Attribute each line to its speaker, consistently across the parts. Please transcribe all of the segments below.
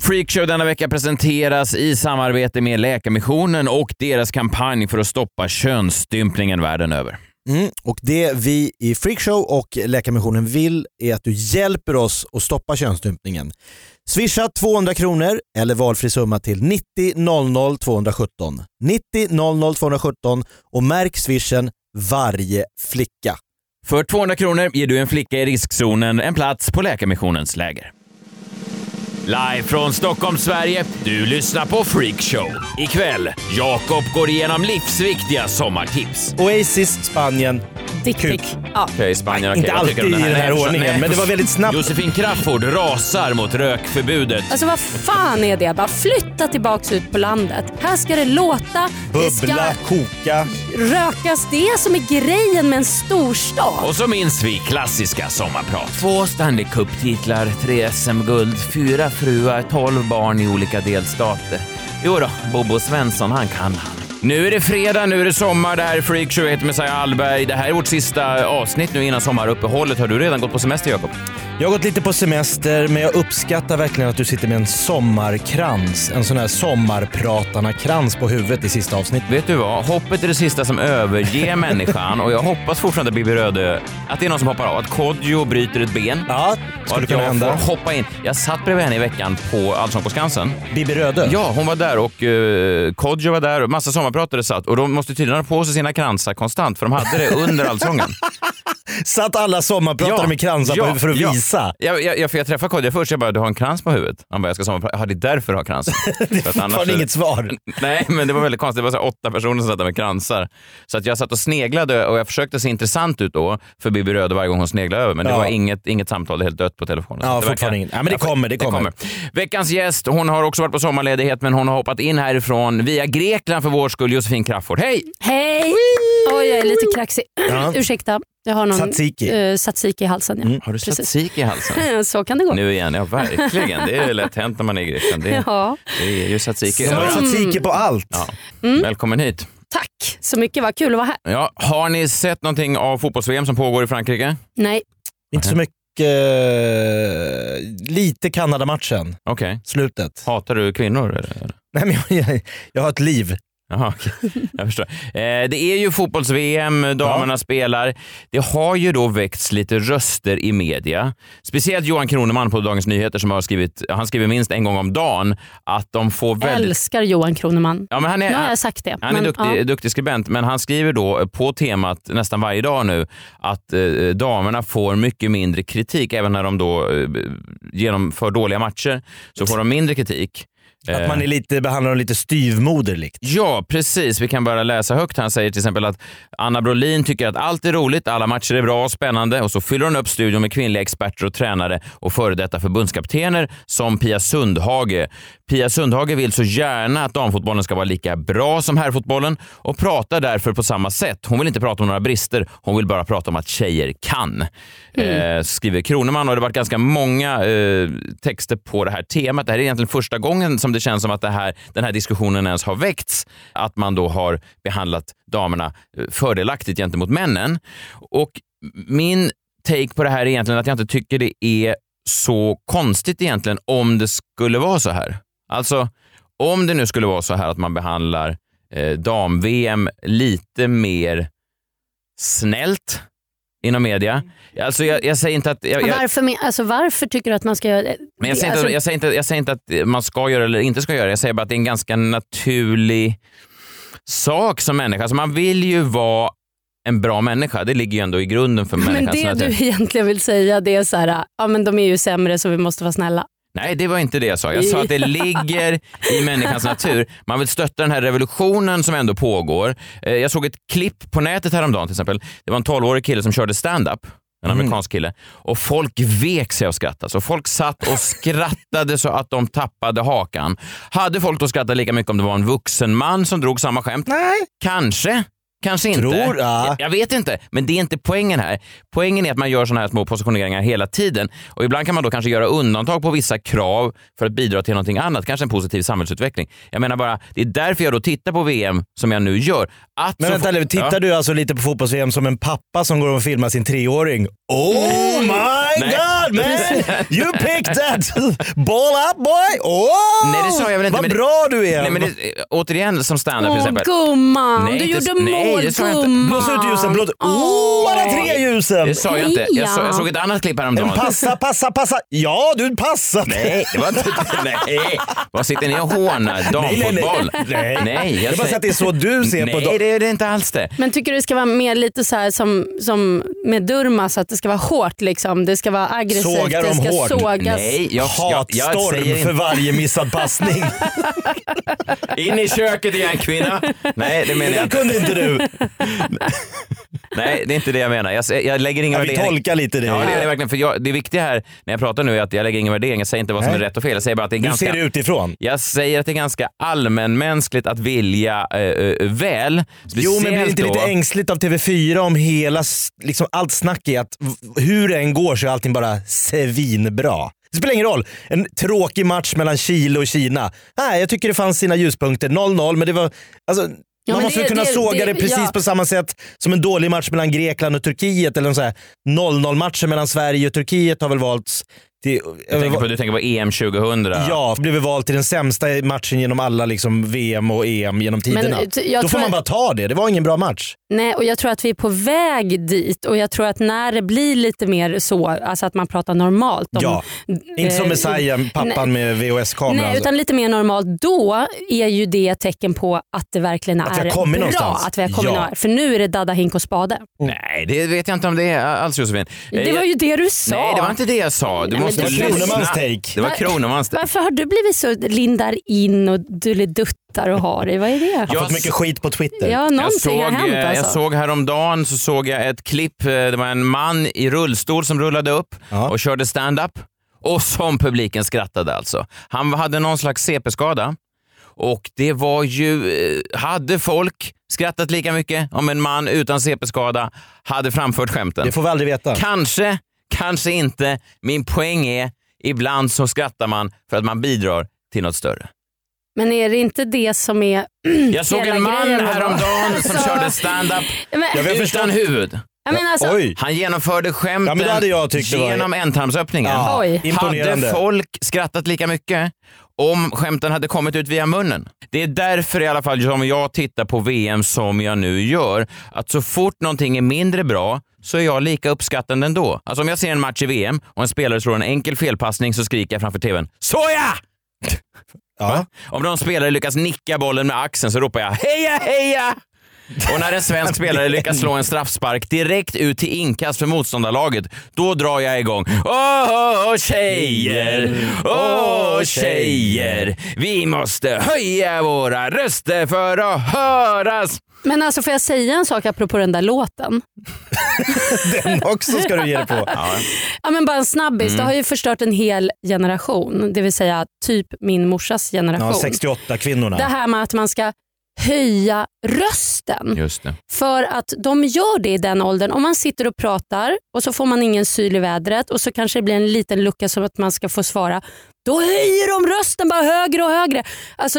Speaker 1: Freakshow denna vecka presenteras i samarbete med Läkarmissionen och deras kampanj för att stoppa könsstympningen världen över.
Speaker 2: Mm. Och det vi i Freakshow och Läkarmissionen vill är att du hjälper oss att stoppa könsstympningen. Swisha 200 kronor eller valfri summa till 90 00 217. 90 00 217 och märk swishen varje flicka.
Speaker 1: För 200 kronor ger du en flicka i riskzonen en plats på Läkarmissionens läger. Live från Stockholm, Sverige. Du lyssnar på Freakshow. Ikväll, Jakob går igenom livsviktiga sommartips.
Speaker 2: Oasis, Spanien.
Speaker 3: Dickpick. Ja.
Speaker 1: Okej, Spanien.
Speaker 2: Inte
Speaker 1: vad tycker du
Speaker 2: alltid
Speaker 1: om
Speaker 2: i den här
Speaker 1: Nej,
Speaker 2: ordningen,
Speaker 1: nej.
Speaker 2: men det var väldigt snabbt.
Speaker 1: Josefin Crafoord rasar mot rökförbudet.
Speaker 3: Alltså vad fan är det? Bara flytta tillbaks ut på landet. Här ska det låta, det ska
Speaker 2: Bubbla, koka.
Speaker 3: rökas. Det är som är grejen med en storstad.
Speaker 1: Och så minns vi klassiska sommarprat. Två Stanley Cup-titlar, tre SM-guld, fyra fruar, tolv barn i olika delstater. Jo då, Bobo Svensson, han kan han. Nu är det fredag, nu är det sommar. Det här är Freakshow, jag heter Messiah Hallberg. Det här är vårt sista avsnitt nu innan sommaruppehållet. Har du redan gått på semester, Jakob?
Speaker 2: Jag har gått lite på semester men jag uppskattar verkligen att du sitter med en sommarkrans. En sån här sommarpratarna-krans på huvudet i sista avsnittet.
Speaker 1: Vet du vad? Hoppet är det sista som överger människan och jag hoppas fortfarande, Bibi Röde, att det är någon som hoppar av. Att Kodjo bryter ett ben.
Speaker 2: Ja,
Speaker 1: Och
Speaker 2: skulle
Speaker 1: att
Speaker 2: kunna
Speaker 1: jag får
Speaker 2: hända.
Speaker 1: hoppa in. Jag satt bredvid henne i veckan på Allsång på Skansen.
Speaker 2: Bibi Röde.
Speaker 1: Ja, hon var där och eh, Kodjo var där och massa sommarpratare satt och de måste tydligen ha på sig sina kransar konstant för de hade det under allsången.
Speaker 2: Satt alla sommarpratare med kransar på huvudet för att
Speaker 1: ja.
Speaker 2: visa.
Speaker 1: Jag, jag, jag, för jag träffade Kodjo först, jag bara du har en krans på huvudet. Han bara jag ska sommarprata, jaha det är därför du har krans. det Mm. är
Speaker 2: Fan inget svar.
Speaker 1: Nej, men det var väldigt konstigt. Det var så här åtta personer som satt där med kransar. Så att jag satt och sneglade och jag försökte se intressant ut då för Bibi Röde varje gång hon sneglade över. Men det
Speaker 2: Ja.
Speaker 1: var inget, inget samtal, det är helt dött på telefonen.
Speaker 2: Ja,
Speaker 1: Så det
Speaker 2: fortfarande inget. Ja, men det
Speaker 1: jag får-
Speaker 2: kommer, det kommer.
Speaker 1: Veckans gäst, hon har också varit på sommarledighet men hon har hoppat in härifrån via Grekland för vår skull, Josefin Crafoord. Hej!
Speaker 3: Hej! Oj, jag är lite kraxig.
Speaker 2: Ja.
Speaker 3: Ursäkta, jag har någon
Speaker 2: Tzatziki.
Speaker 3: eh, tzatziki i halsen. Ja.
Speaker 1: Mm. Har du
Speaker 3: Precis. Eh,
Speaker 1: statistik i halsen?
Speaker 3: Så kan det gå.
Speaker 1: Nu igen, ja verkligen. Det är lätt hänt när man är i Grekland. Det,
Speaker 3: Ja.
Speaker 1: det är ju statistik i
Speaker 2: Jag har
Speaker 1: öronen.
Speaker 2: tzatziki på allt.
Speaker 1: Ja. Välkommen hit.
Speaker 3: Tack så mycket, vad kul att vara här.
Speaker 1: Ja, har ni sett någonting av fotbolls-VM som pågår i Frankrike?
Speaker 3: Nej,
Speaker 2: Inte så mycket... eh, lite Kanada-matchen.
Speaker 1: Okej.
Speaker 2: Slutet.
Speaker 1: Hatar du kvinnor? eller?
Speaker 2: Nej, men jag, jag, jag har ett liv.
Speaker 1: Jaha, okej. jag förstår. Eh, det är ju fotbolls-VM, damerna spelar. Det har ju då väckts lite röster i media. Speciellt Johan Kroneman på Dagens Nyheter som har skrivit, han skriver minst en gång om dagen, att de får väldigt...
Speaker 3: älskar Johan Kroneman.
Speaker 1: Ja, men han är,
Speaker 3: Nu har jag sagt det.
Speaker 1: Han är
Speaker 3: men,
Speaker 1: duktig,
Speaker 3: ja.
Speaker 1: duktig skribent, men han skriver då på temat nästan varje dag nu att eh, damerna får mycket mindre kritik, även när de då eh, genomför dåliga matcher, så får de mindre kritik.
Speaker 2: Att
Speaker 1: Eh.
Speaker 2: man är lite, behandlar dem lite styvmoderligt.
Speaker 1: Ja, precis. Vi kan bara läsa högt. Han säger till exempel att Anna Brolin tycker att allt är roligt, alla matcher är bra och spännande och så fyller hon upp studion med kvinnliga experter och tränare och före detta förbundskaptener som Pia Sundhage. Pia Sundhage vill så gärna att damfotbollen ska vara lika bra som herrfotbollen och pratar därför på samma sätt. Hon vill inte prata om några brister, hon vill bara prata om att tjejer kan. Eh, skriver Kroneman och det har varit ganska många eh, texter på det här temat. Det här är egentligen första gången som det känns som att det här, den här diskussionen ens har väckts. Att man då har behandlat damerna eh, fördelaktigt gentemot männen. Och min take på det här är egentligen att jag inte tycker det är så konstigt egentligen om det skulle vara så här. Alltså, om det nu skulle vara så här att man behandlar eh, dam-VM lite mer snällt inom media. Alltså jag, jag säger inte att... Jag, jag,
Speaker 3: Mm. varför, men- alltså, varför tycker du att man ska göra det?
Speaker 1: men jag säger,
Speaker 3: alltså,
Speaker 1: inte, jag, säger inte, jag säger inte att man ska göra eller inte ska göra Jag säger bara att det är en ganska naturlig sak som människa. Alltså man vill ju vara en bra människa. Det ligger ju ändå i grunden för
Speaker 3: Men
Speaker 1: människans
Speaker 3: det du
Speaker 1: natur.
Speaker 3: egentligen vill säga det är så här, ja men de är ju sämre så vi måste vara snälla.
Speaker 1: Nej, det var inte det jag sa. Jag sa att det ligger i människans natur. Man vill stötta den här revolutionen som ändå pågår. Eh, Jag såg ett klipp på nätet häromdagen till exempel. Det var en 12-årig kille som körde stand-up. En
Speaker 2: Mm.
Speaker 1: amerikansk kille. Och folk vek sig av skratt. Alltså, folk satt och skrattade så att de tappade hakan. Hade folk då skrattat lika mycket om det var en vuxen man som drog samma skämt? Nej. Kanske. Kanske inte.
Speaker 2: Tror- ja.
Speaker 1: jag, jag vet inte, men det är inte poängen här. Poängen är att man gör sådana här små positioneringar hela tiden och ibland kan man då kanske göra undantag på vissa krav för att bidra till någonting annat, kanske en positiv samhällsutveckling. Jag menar bara, det är därför jag då tittar på VM som jag nu gör. Att
Speaker 2: Men
Speaker 1: så
Speaker 2: vänta
Speaker 1: fo-
Speaker 2: nu, tittar
Speaker 1: Ja.
Speaker 2: du alltså lite på fotbolls-VM som en pappa som går och filmar sin treåring? Oh my
Speaker 1: Nej.
Speaker 2: god man! You picked that ball up boy! Oh!
Speaker 1: Nej, det sa jag väl inte,
Speaker 2: Vad
Speaker 1: men det-
Speaker 2: bra du är!
Speaker 1: Nej, men det, återigen som standup till
Speaker 3: Åh
Speaker 1: exempel.
Speaker 3: gumman,
Speaker 1: Nej,
Speaker 3: du
Speaker 1: inte-
Speaker 3: gjorde
Speaker 1: nej,
Speaker 3: mål
Speaker 1: det sa jag inte.
Speaker 3: gumman.
Speaker 2: Blås ut ljusen, blås ut.
Speaker 3: Mm.
Speaker 2: Oh, alla tre ljusen!
Speaker 1: Det sa jag inte. Jag, så, jag såg ett annat klipp häromdagen.
Speaker 2: Passa, passa, passa! Ja, du passade!
Speaker 1: Nej, det var inte... Nej. Vad sitter ni och hånar? Damfotboll?
Speaker 2: Nej, nej, nej.
Speaker 1: nej.
Speaker 2: Jag bara
Speaker 1: säger-
Speaker 2: säger att det är så du ser på
Speaker 1: Nej,
Speaker 2: dam-
Speaker 1: det är det inte alls det.
Speaker 3: Men tycker du det ska vara mer lite så här som, som med Durmaz, att det ska vara hårt liksom? Det ska vara aggressivt,
Speaker 2: Sågar
Speaker 3: det
Speaker 2: de
Speaker 3: ska
Speaker 2: hårt?
Speaker 3: sågas.
Speaker 1: Nej, jag, jag, jag,
Speaker 2: Hatstorm
Speaker 1: säger
Speaker 2: för
Speaker 1: inte.
Speaker 2: varje missad passning.
Speaker 1: In i köket igen kvinna. Nej, det menar jag
Speaker 2: Det
Speaker 1: inte.
Speaker 2: kunde inte du.
Speaker 1: Nej, det är inte det jag menar. Jag, säger- jag lägger ingen
Speaker 2: Ja, vi
Speaker 1: värdering.
Speaker 2: tolkar lite det.
Speaker 1: Ja, det är det verkligen. För jag, det viktiga här när jag pratar nu är att jag lägger ingen värdering. Jag säger inte vad som är
Speaker 2: Nej.
Speaker 1: rätt och fel. Jag säger bara att det är
Speaker 2: Du
Speaker 1: ganska...
Speaker 2: ser det utifrån.
Speaker 1: Jag säger att det är ganska allmänmänskligt att vilja eh, eh, väl.
Speaker 2: Jo, men blir det
Speaker 1: Speciellt
Speaker 2: inte lite
Speaker 1: då-
Speaker 2: ängsligt av TV4 om hela, s- liksom allt snack är att v- hur det än går så är allting bara svinbra. Det spelar ingen roll. En tråkig match mellan Chile och Kina. Nej, jag tycker det fanns sina ljuspunkter. 0-0, men det var... Alltså, man
Speaker 3: men
Speaker 2: måste
Speaker 3: det-
Speaker 2: väl kunna
Speaker 3: det-
Speaker 2: såga det,
Speaker 3: det-
Speaker 2: precis
Speaker 3: ja.
Speaker 2: på samma sätt som en dålig match mellan Grekland och Turkiet. Eller en sån här 0-0 matchen mellan Sverige och Turkiet har väl valts till...
Speaker 1: Jag tänker på, du tänker på EM 2000?
Speaker 2: Ja, blev vald till den sämsta matchen genom alla liksom VM och EM genom tiderna.
Speaker 3: eh, t- jag
Speaker 2: Då får
Speaker 3: tror-
Speaker 2: man bara ta det. Det var ingen bra match.
Speaker 3: Nej, och jag tror att vi är på väg dit och jag tror att när det blir lite mer så, alltså att man pratar normalt om
Speaker 2: Ja. Inte som
Speaker 3: eh,
Speaker 2: Messiah, pappan med VHS-kameran.
Speaker 3: Nej, utan lite mer normalt. Då är ju det ett tecken på att det verkligen
Speaker 2: Att vi har
Speaker 3: är
Speaker 2: kommit
Speaker 3: bra.
Speaker 2: någonstans.
Speaker 3: Att vi har kommit
Speaker 2: Ja.
Speaker 3: någonstans. För nu är det dadda, hink och spade.
Speaker 1: Nej, det vet jag inte om det är alls Josefin. Eh,
Speaker 3: Det var ju det du sa.
Speaker 1: Nej, det var inte det jag sa. Du
Speaker 3: Nej, men
Speaker 1: måste
Speaker 3: det
Speaker 1: lyssna.
Speaker 3: var
Speaker 2: Kronemans take.
Speaker 1: Det var Kronemans take.
Speaker 3: Varför har du blivit så lindar in och duttar och har dig? Vad är det?
Speaker 2: Jag
Speaker 1: Jag
Speaker 2: har fått mycket skit på Twitter.
Speaker 3: Ja,
Speaker 1: Jag
Speaker 3: någonting
Speaker 1: såg,
Speaker 3: har
Speaker 1: eh,
Speaker 3: hänt
Speaker 1: jag
Speaker 3: alltså.
Speaker 1: såg häromdagen så såg jag ett klipp. eh, Det var en man i rullstol som rullade upp
Speaker 2: Ja.
Speaker 1: och körde stand-up. Och som publiken skrattade alltså. Han hade någon slags CP-skada. Och det var ju... eh, Hade folk skrattat lika mycket om en man utan CP-skada hade framfört skämten?
Speaker 2: Det får vi aldrig veta.
Speaker 1: Kanske, kanske inte. Min poäng är, ibland så skrattar man för att man bidrar till något större.
Speaker 3: Men är det inte det som är...
Speaker 1: Jag såg
Speaker 3: Hela
Speaker 1: en man
Speaker 3: grejen var bra.
Speaker 1: häromdagen som
Speaker 3: Alltså.
Speaker 1: körde stand-up
Speaker 3: Men,
Speaker 2: Jag vet- förstår-
Speaker 1: utan huvud.
Speaker 3: jag menar alltså,
Speaker 2: Oj!
Speaker 1: Han genomförde
Speaker 2: Ja,
Speaker 1: skämten
Speaker 2: men det hade jag tyckt det var-
Speaker 1: genom ändtarmsöppningen.
Speaker 2: Ja,
Speaker 3: Oj.
Speaker 2: imponerande.
Speaker 1: Hade folk skrattat lika mycket om skämten hade kommit ut via munnen? Det är därför i alla fall som jag tittar på VM som jag nu gör, att så fort någonting är mindre bra så är jag lika uppskattande ändå. Alltså om jag ser en match i VM och en spelare slår en enkel felpassning så skriker jag framför TVn “Såja!”
Speaker 2: Ja.
Speaker 1: Om någon spelare lyckas nicka bollen med axeln så ropar jag “Heja, heja!” Och när en svensk spelare lyckas slå en straffspark direkt ut till inkast för motståndarlaget, då drar jag igång. Åh, åh, tjejer! Åh, tjejer! Vi måste höja våra röster för att höras!
Speaker 3: men alltså får jag säga en sak apropå den där låten?
Speaker 2: Den också ska du ge dig på.
Speaker 3: Ja, men bara en snabbis.
Speaker 1: Mm.
Speaker 3: Det har ju förstört en hel generation. Det vill säga typ min morsas generation.
Speaker 2: Ja, 68-kvinnorna.
Speaker 3: Det här med att man ska höja rösten.
Speaker 1: Just det.
Speaker 3: För att de gör det i den åldern. Om man sitter och pratar och så får man ingen syl i vädret och så kanske det blir en liten lucka som att man ska få svara. Då höjer de rösten bara högre och högre. Alltså,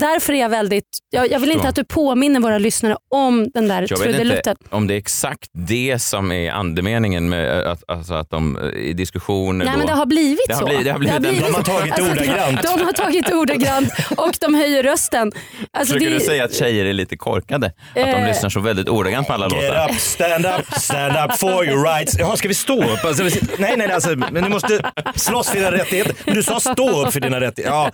Speaker 3: därför är jag väldigt... Jag, jag vill inte
Speaker 1: Så.
Speaker 3: att du påminner våra lyssnare om den där
Speaker 1: Jag vet inte
Speaker 3: trudelutten.
Speaker 1: om det är exakt det som är andemeningen med eh, att, alltså att de eh, i diskussioner
Speaker 3: Nej
Speaker 1: då...
Speaker 3: men det har blivit
Speaker 1: Det har
Speaker 3: så.
Speaker 1: blivit- det har blivit-
Speaker 2: de har tagit
Speaker 3: Alltså,
Speaker 2: ordagrant.
Speaker 3: De har tagit ordagrant och de höjer rösten. Alltså,
Speaker 1: Försöker
Speaker 3: det-
Speaker 1: du säga att tjejer är lite korkade? Att de
Speaker 3: Eh.
Speaker 1: lyssnar så väldigt ordagrant på alla låtar?
Speaker 2: Get up, stand up, stand up for your rights. Jaha, ska vi stå upp? Alltså, vi- nej, nej, nej, alltså, men du måste slåss för dina rättigheter. Men du sa stå upp för dina rättigheter. Ja,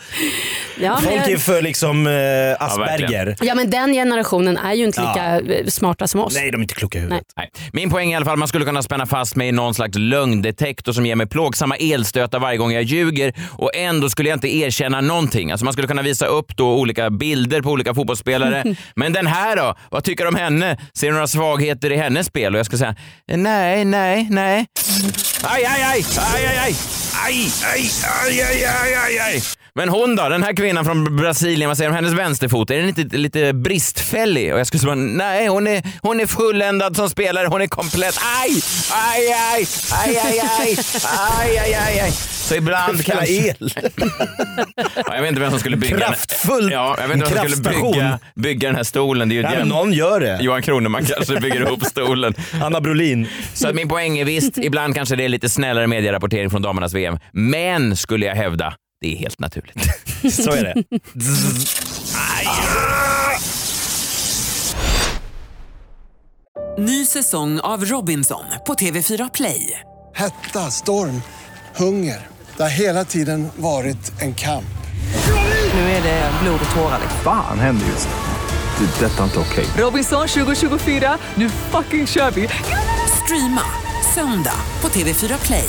Speaker 3: ja, men
Speaker 2: folk
Speaker 3: jag-
Speaker 2: är för liksom eh,
Speaker 1: verkligen.
Speaker 2: Asperger.
Speaker 3: Ja men den generationen är ju inte
Speaker 2: Ja.
Speaker 3: lika eh, smarta som oss.
Speaker 2: nej, de är inte kloka i huvudet.
Speaker 1: Nej. Min poäng är i alla fall att man skulle kunna spänna fast mig i någon slags lögndetektor som ger mig plågsamma elstötar varje gång jag ljuger och ändå skulle jag inte erkänna någonting. Alltså man skulle kunna visa upp då olika bilder på olika fotbollsspelare. Men den här då? Vad tycker du om henne? Ser du några svagheter i hennes spel? Och jag skulle säga nej, nej, nej. Aj, aj, aj, aj, aj, aj, aj, aj, aj, aj, aj, aj, aj. Men hon då, den här kvinnan från Brasilien, vad säger du om hennes vänsterfot? Är den inte lite bristfällig? Och jag skulle säga, nej hon är, hon är fulländad som spelare, hon är komplett. Aj! Aj, aj! Aj, aj, aj! Aj, aj, aj, aj. Så ibland
Speaker 2: Jävla
Speaker 1: kanske...
Speaker 2: el.
Speaker 1: Ja, jag vet inte vem som skulle bygga
Speaker 2: Kraftfull.
Speaker 1: den. Ja, jag vet inte vem som skulle
Speaker 2: Kraftstation.
Speaker 1: bygga, bygga den här stolen. Det är ju
Speaker 2: Nej, men
Speaker 1: den-
Speaker 2: någon gör det.
Speaker 1: Johan Kroneman kanske bygger ihop stolen.
Speaker 2: Anna Brolin.
Speaker 1: Så att min poäng är visst, ibland kanske det är lite snällare medierapportering från damernas VM. Men skulle jag hävda, det är helt naturligt.
Speaker 2: Så är det.
Speaker 4: Ny säsong av Robinson på TV4 Play.
Speaker 5: Hetta, storm, hunger. Det har hela tiden varit en kamp.
Speaker 6: Nu är det blod och tårar. liksom.
Speaker 7: Fan händer just det. Det är detta inte okej.
Speaker 4: Robinson 2024, nu fucking kör vi! Streama söndag på TV4 Play.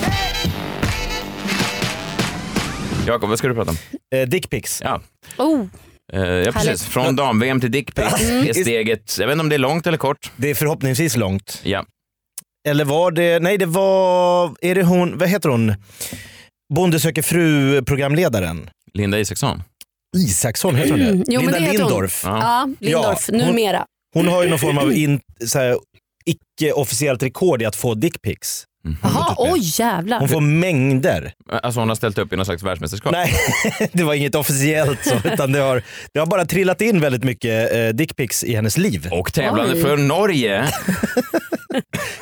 Speaker 1: Jakob, vad ska du prata om?
Speaker 2: Eh, Dickpics.
Speaker 1: Ja,
Speaker 3: Oh,
Speaker 1: eh, ja precis. Från dam-VM till dickpics är steget, jag vet inte om det är långt eller kort.
Speaker 2: Det är förhoppningsvis långt.
Speaker 1: Ja.
Speaker 2: Eller var det, nej det var, är det hon, vad heter hon? Bonde söker fru-programledaren.
Speaker 1: Linda Isaksson.
Speaker 2: Isaksson heter hon det?
Speaker 3: Mm, jo, men
Speaker 2: Linda
Speaker 3: det heter hon.
Speaker 2: Lindorff.
Speaker 1: Ja.
Speaker 3: Ja, Lindorff,
Speaker 2: Ja, hon-
Speaker 3: numera.
Speaker 2: Hon har ju någon form av in, så här, icke-officiellt rekord i att få dickpics.
Speaker 8: Mhm.
Speaker 3: Jaha, oj jävlar.
Speaker 2: Hon får mängder.
Speaker 1: Alltså hon har ställt upp i någon slags världsmästerskap.
Speaker 2: Nej, det var inget officiellt så, utan det har, det har bara trillat in väldigt mycket eh, dickpics i hennes liv.
Speaker 1: Och tävlande
Speaker 3: Oj.
Speaker 1: för Norge.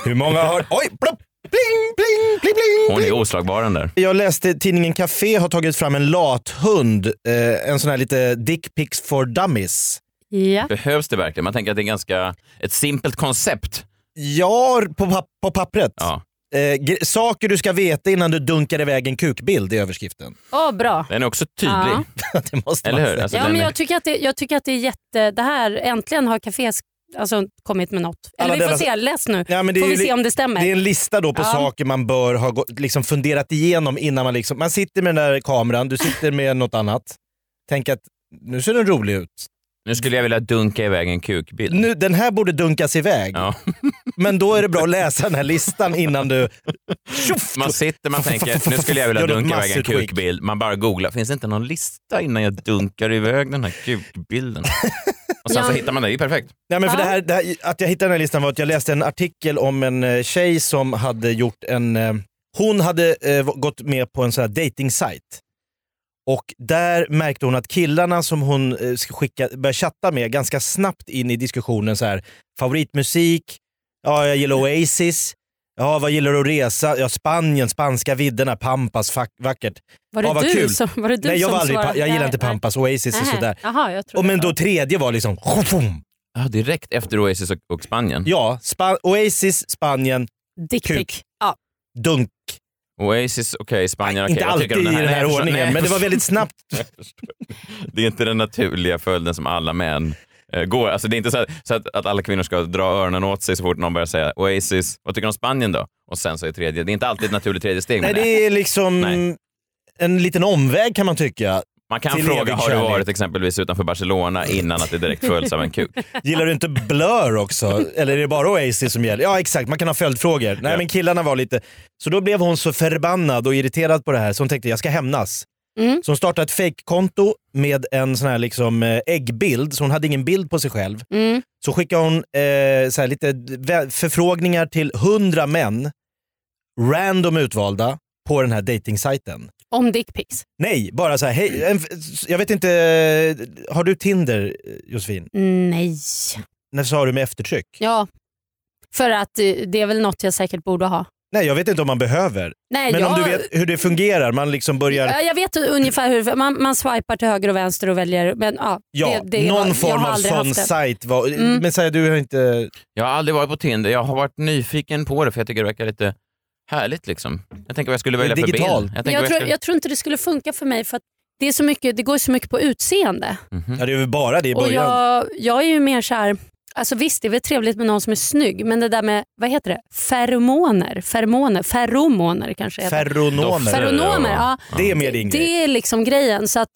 Speaker 2: Hur många har... Oj! Plopp, bling, bling, bling, bling,
Speaker 1: Hon
Speaker 2: bling.
Speaker 1: är oslagbar den där.
Speaker 2: Jag läste tidningen Café har tagit fram en lathund. Eh, en sån här lite dickpics for dummies.
Speaker 3: Ja.
Speaker 1: Behövs det verkligen? Man tänker att det är ganska ett simpelt koncept.
Speaker 2: Ja, på, pap- på pappret.
Speaker 1: Ja,
Speaker 2: Eh, gre- saker du ska veta innan du dunkar iväg en kukbild i överskriften.
Speaker 3: Åh, bra.
Speaker 1: den är också tydlig.
Speaker 3: Ja.
Speaker 2: det måste
Speaker 1: Eller
Speaker 2: man
Speaker 1: hur?
Speaker 2: säga.
Speaker 1: Alltså,
Speaker 3: Ja,
Speaker 1: den
Speaker 3: men
Speaker 1: är-
Speaker 3: jag, tycker att det, jag tycker att det är jätte... Det här, äntligen har Café alltså, kommit med något. Eller
Speaker 2: Alla
Speaker 3: vi får
Speaker 2: deras-
Speaker 3: se, läs nu.
Speaker 2: Ja, men det är
Speaker 3: får vi
Speaker 2: ju li-
Speaker 3: se om det stämmer.
Speaker 2: Det är en lista då på
Speaker 3: Ja.
Speaker 2: saker man bör ha gå- liksom funderat igenom innan man liksom... Man sitter med den där kameran, du sitter med något annat. Tänk att nu ser den rolig ut.
Speaker 1: Nu skulle jag vilja dunka iväg en kukbild.
Speaker 2: Nu, den här borde dunkas iväg.
Speaker 1: Ja.
Speaker 2: Men då är det bra att läsa den här listan innan du... Tjoff!
Speaker 1: Man sitter man tänker, nu skulle jag vilja
Speaker 2: Gör något
Speaker 1: dunka iväg en
Speaker 2: massutskick.
Speaker 1: kukbild. Man bara googlar, finns det inte någon lista innan jag dunkar iväg den här kukbilden? Och sen så
Speaker 3: Ja.
Speaker 1: hittar man det, det är ju perfekt.
Speaker 2: Nej, men för
Speaker 3: Ja.
Speaker 2: det här, det här, att jag hittade den här listan var att jag läste en artikel om en eh, tjej som hade gjort en... eh, Hon hade eh, gått med på en sån här dating-sajt. Och där märkte hon att killarna som hon eh, sk- skicka, började chatta med ganska snabbt in i diskussionen så här, favoritmusik, ja jag gillar Oasis, ja vad gillar du att resa, ja Spanien, spanska vidderna, Pampas, fack, vackert.
Speaker 3: var, det
Speaker 2: ja, vad
Speaker 3: du
Speaker 2: kul.
Speaker 3: som, var det du
Speaker 2: Nej jag,
Speaker 3: som
Speaker 2: var aldrig, pa-
Speaker 3: svarade?
Speaker 2: jag gillar
Speaker 3: Nej,
Speaker 2: inte
Speaker 3: nej.
Speaker 2: Pampas, Oasis är
Speaker 3: Nej.
Speaker 2: sådär.
Speaker 3: Äh, Jaha, jag
Speaker 2: Och
Speaker 3: trodde
Speaker 2: men
Speaker 3: det
Speaker 2: då
Speaker 3: var-
Speaker 2: tredje var liksom,
Speaker 1: Ja, direkt efter Oasis och, och Spanien.
Speaker 2: ja, Spa- Oasis, Spanien,
Speaker 3: Dick
Speaker 2: kuk.
Speaker 3: pic. Ja.
Speaker 2: dunk.
Speaker 1: Oasis, okej, Spanien, okej.
Speaker 2: Inte
Speaker 1: Vad
Speaker 2: alltid
Speaker 1: tycker du om
Speaker 2: i den
Speaker 1: Nej,
Speaker 2: här
Speaker 1: jag förstår-
Speaker 2: ordningen,
Speaker 1: nej,
Speaker 2: men det var väldigt snabbt.
Speaker 1: jag förstår. Det är inte den naturliga följden som alla män eh, går. Alltså, det är inte så, här, så att, att alla kvinnor ska dra öronen åt sig så fort någon börjar säga Oasis, vad tycker du om Spanien då? Och sen så är tredje, det är inte alltid ett naturligt tredje steg.
Speaker 2: Nej,
Speaker 1: men
Speaker 2: det är liksom
Speaker 1: Nej.
Speaker 2: en liten omväg kan man tycka.
Speaker 1: Man kan
Speaker 2: Till
Speaker 1: fråga,
Speaker 2: evig
Speaker 1: har du
Speaker 2: kärlek.
Speaker 1: varit exempelvis utanför Barcelona innan att det direkt följs av en kuk?
Speaker 2: Gillar du inte Blur också? Eller är det bara Oasis som gäller? Ja exakt, man kan ha följdfrågor. Nej
Speaker 1: Ja.
Speaker 2: men killarna var lite... Så då blev hon så förbannad och irriterad på det här så hon tänkte jag ska hämnas.
Speaker 3: Mm.
Speaker 2: Så hon startade ett fejkkonto med en sån här liksom eh, äggbild, så hon hade ingen bild på sig själv.
Speaker 3: Mm.
Speaker 2: Så skickade hon eh, så här lite vä- förfrågningar till hundra män, random utvalda, på den här dejtingsajten.
Speaker 3: Om dick pics.
Speaker 2: Nej, bara så här, hej, en, jag vet inte, eh, har du Tinder eh, Josefin?
Speaker 3: Nej.
Speaker 2: När sa du med eftertryck?
Speaker 3: Ja. För att eh, det är väl något jag säkert borde ha.
Speaker 2: Nej, jag vet inte om man behöver.
Speaker 3: Nej,
Speaker 2: Men
Speaker 3: jag...
Speaker 2: om du vet hur det fungerar, man liksom börjar,
Speaker 3: Ja, Jag vet ungefär hur man, man swipar till höger och vänster och väljer. Men, ja,
Speaker 2: ja,
Speaker 3: det, det
Speaker 2: någon
Speaker 3: jag, jag
Speaker 2: form
Speaker 3: har
Speaker 2: av
Speaker 3: aldrig
Speaker 2: sån
Speaker 3: haft det.
Speaker 2: sajt. Var,
Speaker 3: Mm.
Speaker 2: Men säg du har inte,
Speaker 1: Jag har aldrig varit på Tinder. Jag har varit nyfiken på det för jag tycker det verkar lite härligt liksom. Jag tänker vad jag skulle välja för bild.
Speaker 2: Digital.
Speaker 1: tänker
Speaker 3: Jag,
Speaker 1: vad
Speaker 3: tror,
Speaker 1: skulle-
Speaker 3: jag tror inte det skulle funka för mig för att det, är så mycket, det går så mycket på utseende.
Speaker 2: Ja, det är väl bara det i
Speaker 3: Och
Speaker 2: början.
Speaker 3: jag, jag är ju mer så här, alltså visst det är väl trevligt med någon som är snygg men det där med, vad heter det, feromoner, feromoner, feromoner kanske heter.
Speaker 2: Ferronomer.
Speaker 1: Fer-
Speaker 3: feronomer, ja.
Speaker 2: Det är mer din grej.
Speaker 3: Det är liksom grejen. Så, att,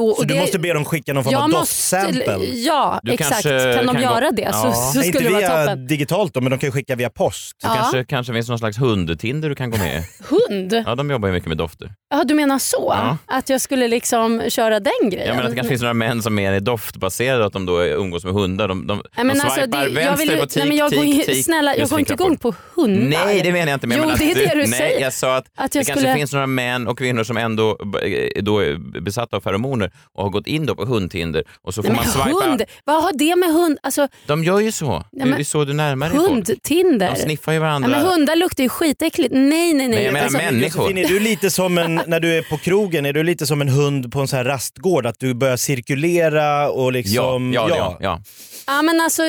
Speaker 3: och,
Speaker 2: Så
Speaker 3: och
Speaker 2: du
Speaker 3: det,
Speaker 2: måste be dem skicka någon form av
Speaker 3: jag
Speaker 2: doftsample?
Speaker 3: Ja,
Speaker 1: Du
Speaker 3: exakt.
Speaker 1: kanske
Speaker 3: Kan de
Speaker 1: kan
Speaker 3: göra
Speaker 1: gå-
Speaker 3: det så,
Speaker 1: Ja.
Speaker 3: så
Speaker 2: Nej, inte
Speaker 3: skulle det vara
Speaker 2: via
Speaker 3: toppen.
Speaker 2: digitalt då, men de kan ju skicka via post.
Speaker 1: Det
Speaker 3: Ja.
Speaker 1: kanske, kanske finns någon slags hundtinder du kan gå med i.
Speaker 3: Hund?
Speaker 1: Ja, de jobbar ju mycket med dofter.
Speaker 3: Ja, du menar så?
Speaker 1: Ja.
Speaker 3: Att jag skulle liksom köra den grejen?
Speaker 1: Jag menar att det kanske finns några män som mer är doftbaserade, att de då umgås med hundar. De, de,
Speaker 3: Nej, men
Speaker 1: de
Speaker 3: alltså,
Speaker 1: swipar
Speaker 3: det, jag vill,
Speaker 1: vänster
Speaker 3: ju-
Speaker 1: på tik,
Speaker 3: nej, men jag
Speaker 1: tik,
Speaker 3: går, ju-
Speaker 1: tik.
Speaker 3: Snälla, jag
Speaker 1: Just
Speaker 3: går inte
Speaker 1: fick jag
Speaker 3: igång på hundar.
Speaker 1: Nej, det menar jag inte. Men jag
Speaker 3: Jo,
Speaker 1: menar
Speaker 3: det är
Speaker 1: att
Speaker 3: det du
Speaker 1: nej,
Speaker 3: säger.
Speaker 1: jag sa att,
Speaker 3: Att
Speaker 1: det
Speaker 3: jag
Speaker 1: kanske
Speaker 3: skulle-
Speaker 1: finns några män och kvinnor som ändå eh, då är besatta av feromoner och har gått in då på hundtinder och så får
Speaker 3: Nej,
Speaker 1: man
Speaker 3: men
Speaker 1: swipa.
Speaker 3: hund, vad har det med hund... Alltså,
Speaker 1: De gör ju så. Det är
Speaker 3: men-
Speaker 1: ju så du närmar dig folk. De
Speaker 3: hundtinder?
Speaker 1: sniffar ju varandra.
Speaker 3: Nej, men hundar luktar ju skitäckligt. Nej, nej,
Speaker 1: Nej,
Speaker 3: nej.
Speaker 1: jag menar
Speaker 3: alltså,
Speaker 1: människor.
Speaker 2: Josefin, är du lite som en, när du är på krogen, är du lite som en hund på en sån här rastgård? Att du börjar cirkulera och
Speaker 1: Ja,
Speaker 2: liksom...
Speaker 1: ja, ja. ja.
Speaker 3: ja, men alltså,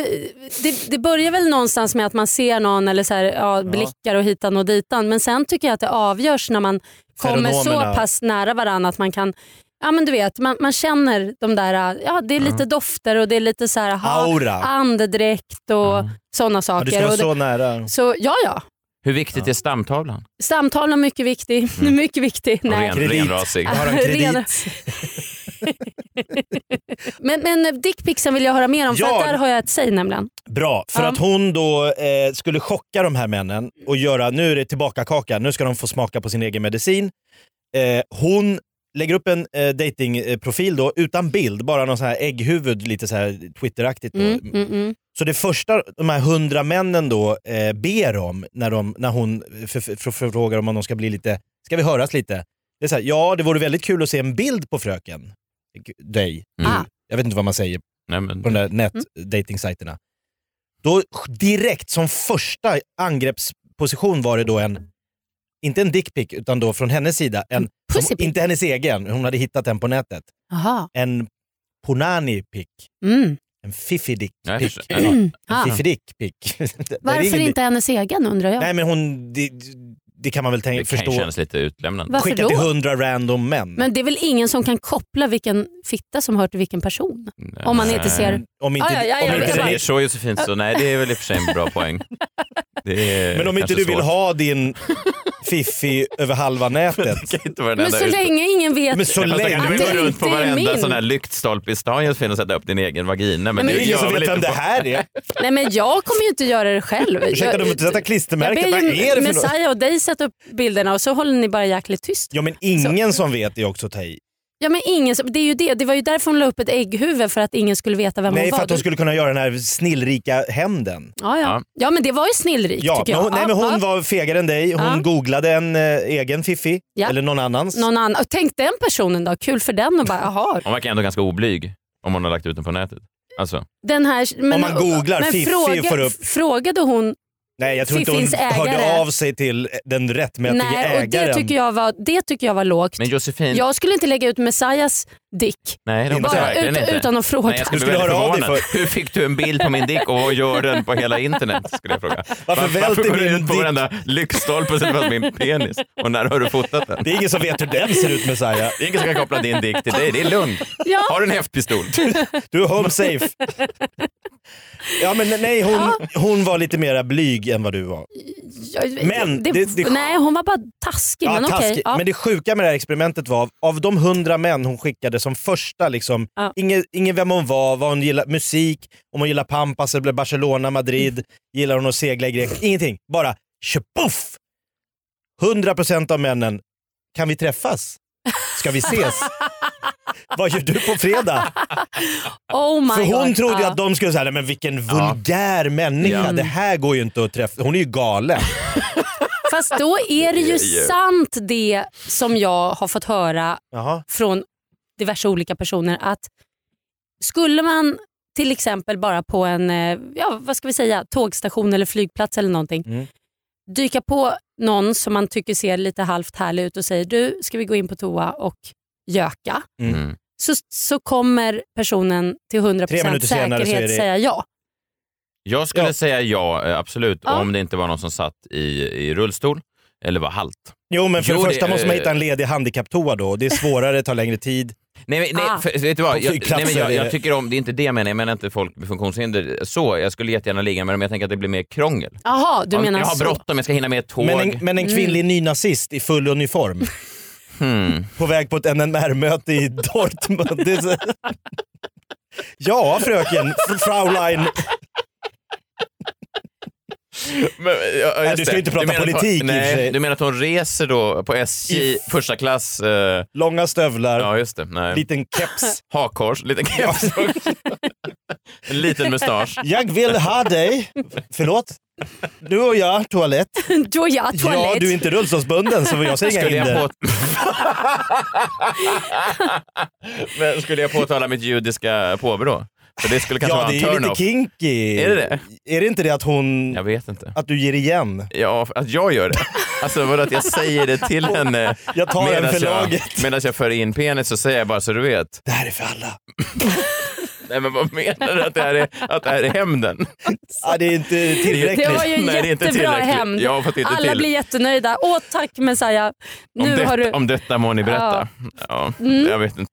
Speaker 3: det, det börjar väl någonstans med att man ser någon eller så här, ja, blickar och hitan och ditan. Men sen tycker jag att det avgörs när man kommer
Speaker 2: Feromonerna.
Speaker 3: så pass nära varandra att man kan Ja men du vet, man, man känner de där, ja det är lite dofter och det är lite så här, aha,
Speaker 2: Aura.
Speaker 3: andedräkt och sådana
Speaker 2: Ja,
Speaker 3: saker.
Speaker 2: du ska vara
Speaker 3: och det,
Speaker 2: så nära.
Speaker 3: så ja ja,
Speaker 1: Hur viktigt är stamtavlan?
Speaker 3: Stamtavlan är mycket viktig. mycket viktig. Nej.
Speaker 1: Ren,
Speaker 2: Mm. Kredit.
Speaker 1: renrasig.
Speaker 2: har en kredit.
Speaker 3: Ren- men men dickpixen vill jag höra mer om, för
Speaker 2: Ja.
Speaker 3: att där har jag ett säg nämligen.
Speaker 2: Bra, för
Speaker 3: Ja.
Speaker 2: att hon då eh, skulle chocka de här männen och göra, nu är det tillbaka kaka, nu ska de få smaka på sin egen medicin. Eh, hon lägger upp en eh, datingprofil då utan bild, bara någon sån här ägghuvud, lite så här twitteraktigt. då.
Speaker 3: Mm, mm, mm.
Speaker 2: Så det första de här hundra männen då eh, ber om när, de, när hon för, för, för, frågar om de ska bli lite, ska vi höras lite? Det är så här, ja det vore väldigt kul att se en bild på fröken. Dig.
Speaker 1: Mm.
Speaker 3: Ah.
Speaker 2: Jag vet inte vad man säger
Speaker 1: Nej, men,
Speaker 2: på de där nätdatingsajterna. Då direkt som första angreppsposition var det då en, inte en dickpic utan då från hennes sida, en, som,
Speaker 3: Pussypic.
Speaker 2: inte hennes egen, hon hade hittat den på nätet,
Speaker 3: Aha.
Speaker 2: en ponani-pic,
Speaker 3: Mm.
Speaker 2: en fiffidick
Speaker 1: jag
Speaker 2: pic.
Speaker 1: förstår.
Speaker 2: En
Speaker 3: Ah.
Speaker 2: fiffidick-pic. Det- det är
Speaker 3: Varför
Speaker 2: ingen dick.
Speaker 3: inte hennes egen undrar jag.
Speaker 2: Nej men hon, det, det kan man väl
Speaker 1: Det
Speaker 2: tänka,
Speaker 1: kan ju
Speaker 2: förstå.
Speaker 1: kännas lite utlämnande.
Speaker 3: Varför
Speaker 2: Skicka
Speaker 3: då?
Speaker 2: till hundra random män.
Speaker 3: Men det är väl ingen som kan koppla vilken fitta som hör till vilken person?
Speaker 1: Mm, Nej.
Speaker 3: Om man inte ser...
Speaker 2: om inte,
Speaker 3: Ah, ja, ja, ja,
Speaker 1: Om
Speaker 2: om inte
Speaker 1: du
Speaker 3: jag
Speaker 2: den
Speaker 1: säger
Speaker 2: är,
Speaker 1: så Josefin, så nej det är väl i och för sig en bra poäng. Det är
Speaker 2: men om inte
Speaker 1: kanske
Speaker 2: du vill
Speaker 1: svårt.
Speaker 2: ha din fiffi över halva nätet.
Speaker 1: Det kan inte vara den
Speaker 3: Men
Speaker 1: enda
Speaker 3: så
Speaker 1: ut-
Speaker 3: länge ingen vet...
Speaker 2: Men så
Speaker 1: Fast då
Speaker 2: länge...
Speaker 1: kan du
Speaker 3: Det
Speaker 1: väl
Speaker 3: är
Speaker 1: gå runt på
Speaker 3: inte
Speaker 1: varenda
Speaker 3: min.
Speaker 1: sån här lyktstolpe i stan Josefin och sätta upp din egen vagina. Men
Speaker 3: Nej, men
Speaker 2: Det är ingen som
Speaker 1: gör
Speaker 2: vet
Speaker 1: väl
Speaker 2: vem
Speaker 1: inte
Speaker 2: det
Speaker 1: folk.
Speaker 2: här är.
Speaker 3: Nej men jag kommer ju inte göra det själv.
Speaker 2: Ursäkta, de får
Speaker 3: jag,
Speaker 2: inte sätta
Speaker 3: jag
Speaker 2: klistermärken. Vad
Speaker 3: ber
Speaker 2: är
Speaker 3: ju
Speaker 2: det för något?
Speaker 3: Messiah och dig sätta upp bilderna och så håller ni bara jäkligt tyst.
Speaker 2: Ja, men ingen som vet är också att ta i.
Speaker 3: Ja men ingen, som- det är ju det. Det var ju därför hon la upp ett ägghuvud för att ingen skulle veta vem
Speaker 2: Nej,
Speaker 3: hon
Speaker 2: för
Speaker 3: var.
Speaker 2: att hon skulle kunna göra den här snillrika hämnden.
Speaker 3: ja, ja.
Speaker 1: Ja.
Speaker 3: Ja. men det var ju snillrikt
Speaker 2: Ja,
Speaker 3: tycker
Speaker 2: men
Speaker 3: jag.
Speaker 2: hon, nej,
Speaker 3: Ja,
Speaker 2: men
Speaker 3: ja.
Speaker 2: hon var fegare än dig. Hon
Speaker 3: Ja.
Speaker 2: googlade en eh, egen fiffi,
Speaker 3: Ja.
Speaker 2: eller någon annans.
Speaker 3: Någon annan. och Tänk den personen då, kul för den och bara jaha.
Speaker 1: Hon verkar ändå ganska oblyg om hon har lagt ut den på nätet. Alltså,
Speaker 3: Den här, men,
Speaker 2: Om man googlar
Speaker 3: men
Speaker 2: Fiffi
Speaker 3: fråga,
Speaker 2: och får upp-
Speaker 3: Frågade hon,
Speaker 2: Nej, jag tror inte hon
Speaker 3: Fiffins ägare.
Speaker 2: hörde av sig till den rättmätige
Speaker 3: nej och
Speaker 2: ägaren.
Speaker 3: det tycker, jag var, det tycker jag var lågt.
Speaker 1: men Josefin,
Speaker 3: Jag skulle inte lägga ut Messias dick
Speaker 1: nej det hoppas jag
Speaker 3: bara
Speaker 1: verkligen
Speaker 3: ut,
Speaker 1: inte.
Speaker 3: utan att fråga.
Speaker 1: Nej, jag skulle
Speaker 2: Du
Speaker 1: bli
Speaker 2: skulle
Speaker 1: väldigt
Speaker 2: höra av dig
Speaker 1: förvånad. Hur fick du en bild på min dick och vad gör den på hela internet? Skulle jag fråga. Var- varför
Speaker 2: välter
Speaker 1: går du
Speaker 2: min
Speaker 1: ut på
Speaker 2: dick?
Speaker 1: varenda lyktstolpe och sätter fast min penis? Och när har du fotat den?
Speaker 2: Det är ingen som vet hur den ser ut Messiah.
Speaker 1: Det är ingen som kan koppla din dick till dig, det är lugnt.
Speaker 3: Ja.
Speaker 1: Har du en häftpistol?
Speaker 2: Du är home safe. Ja men nej, hon, hon var lite mer blyg än vad du var.
Speaker 3: Jag-
Speaker 2: Men det- det-
Speaker 3: nej, hon var bara taskig. men okej.
Speaker 2: taskigt.
Speaker 3: Ja.
Speaker 2: Men det sjuka med det här experimentet var, av de hundra män hon skickade som första, liksom,
Speaker 3: Ja.
Speaker 2: ingen, ingen vem hon var, vad hon gillar, musik, om hon gillar Pampas eller Barcelona, Madrid,
Speaker 3: Mm.
Speaker 2: gillar hon att segla i Grekland, ingenting. Bara tjopoff! 100% av männen, kan vi träffas? Ska vi ses? vad gör du på fredag?
Speaker 3: Oh my
Speaker 2: För hon
Speaker 3: God.
Speaker 2: trodde ju
Speaker 3: Ja.
Speaker 2: att de skulle säga, "Nej, men vilken vulgär människa,
Speaker 1: Ja.
Speaker 2: det här går ju inte att träffa, hon är ju galen.
Speaker 3: Fast då är det ju sant det som jag har fått höra
Speaker 2: Jaha.
Speaker 3: från diverse olika personer att skulle man till exempel bara på en eh, ja, vad ska vi säga, tågstation eller flygplats eller någonting
Speaker 2: Mm.
Speaker 3: dyka på någon som man tycker ser lite halvt härlig ut och säger du ska vi gå in på toa och göka
Speaker 1: Mm.
Speaker 3: så, så kommer personen till 100%
Speaker 2: Tre minuter senare så är
Speaker 3: säkerhet
Speaker 2: det-
Speaker 3: säga ja.
Speaker 1: Jag skulle
Speaker 2: Ja.
Speaker 1: säga ja, eh, absolut.
Speaker 3: Ja.
Speaker 1: Om det inte var någon som satt i, i rullstol. eller var halt.
Speaker 2: Jo, men för
Speaker 1: Jo,
Speaker 2: det
Speaker 1: det-
Speaker 2: första måste man
Speaker 1: eh,
Speaker 2: hitta en ledig handikapptoa då. Det är svårare, tar längre tid.
Speaker 1: Nej, men, nej,
Speaker 3: Ah.
Speaker 1: för, vet du vad?
Speaker 2: På
Speaker 1: Jag,
Speaker 2: flygplatser
Speaker 1: nej, men jag,
Speaker 2: är
Speaker 1: jag
Speaker 2: det-
Speaker 1: tycker om, det är inte det jag menar, jag menar inte folk med funktionshinder så. Jag skulle jättegärna ligga med dem, men jag tänker att det blir mer krångel.
Speaker 3: Jaha, du
Speaker 1: Om-
Speaker 3: menar
Speaker 1: jag har
Speaker 3: så.
Speaker 1: bråttom, jag ska hinna med ett tåg.
Speaker 2: Men en, men en kvinnlig nynazist i full uniform.
Speaker 1: Hmm.
Speaker 2: På väg på ett NMR-möte i Dortmund. Det är så- ja, fröken. fr- Fraulein.
Speaker 1: Men, ja, just
Speaker 2: Nej, du ska
Speaker 1: det.
Speaker 2: inte prata
Speaker 1: menar att hon-
Speaker 2: politik i och för sig.
Speaker 1: nej, Du menar att hon reser då på SJ, första klass? Eh,
Speaker 2: Långa stövlar,
Speaker 1: ja, just det. Nej.
Speaker 2: liten keps.
Speaker 1: Hakkors, lite keps också. En liten mustasch.
Speaker 2: Jag vill ha dig. Förlåt? Du och jag, toalett.
Speaker 3: Då jag toalett.
Speaker 2: Ja, du är inte rullstolsbunden så jag ser inga
Speaker 1: Skulle
Speaker 2: hinder.
Speaker 1: jag, på... men skulle jag påtala mitt judiska påbrå? För det skulle kanske
Speaker 2: Ja, det
Speaker 1: vara
Speaker 2: är ju
Speaker 1: en
Speaker 2: lite
Speaker 1: turn-off.
Speaker 2: kinky.
Speaker 1: Är det det?
Speaker 2: Är det inte det att hon...
Speaker 1: Jag vet inte.
Speaker 2: Att du ger igen?
Speaker 1: Ja, att jag gör det. Alltså vadå att jag säger det till henne
Speaker 2: Jag tar en
Speaker 1: medan
Speaker 2: för
Speaker 1: jag,
Speaker 2: laget.
Speaker 1: medan jag för in penis så säger jag bara så du vet.
Speaker 2: Det här är för alla.
Speaker 1: Nej men vad menar du att det här är, att det här är hämnden?
Speaker 2: Ja, det är inte tillräckligt.
Speaker 3: Det var ju
Speaker 1: Nej, det är inte
Speaker 3: jättebra
Speaker 1: tillräckligt.
Speaker 3: hämnd.
Speaker 1: Jag har fått inte
Speaker 3: Alla
Speaker 1: till.
Speaker 3: blir jättenöjda. Åh tack Messiah.
Speaker 1: Om,
Speaker 3: Nu
Speaker 1: det,
Speaker 3: har du... Mm.
Speaker 1: om detta må ni berätta. Ja, Jag vet inte.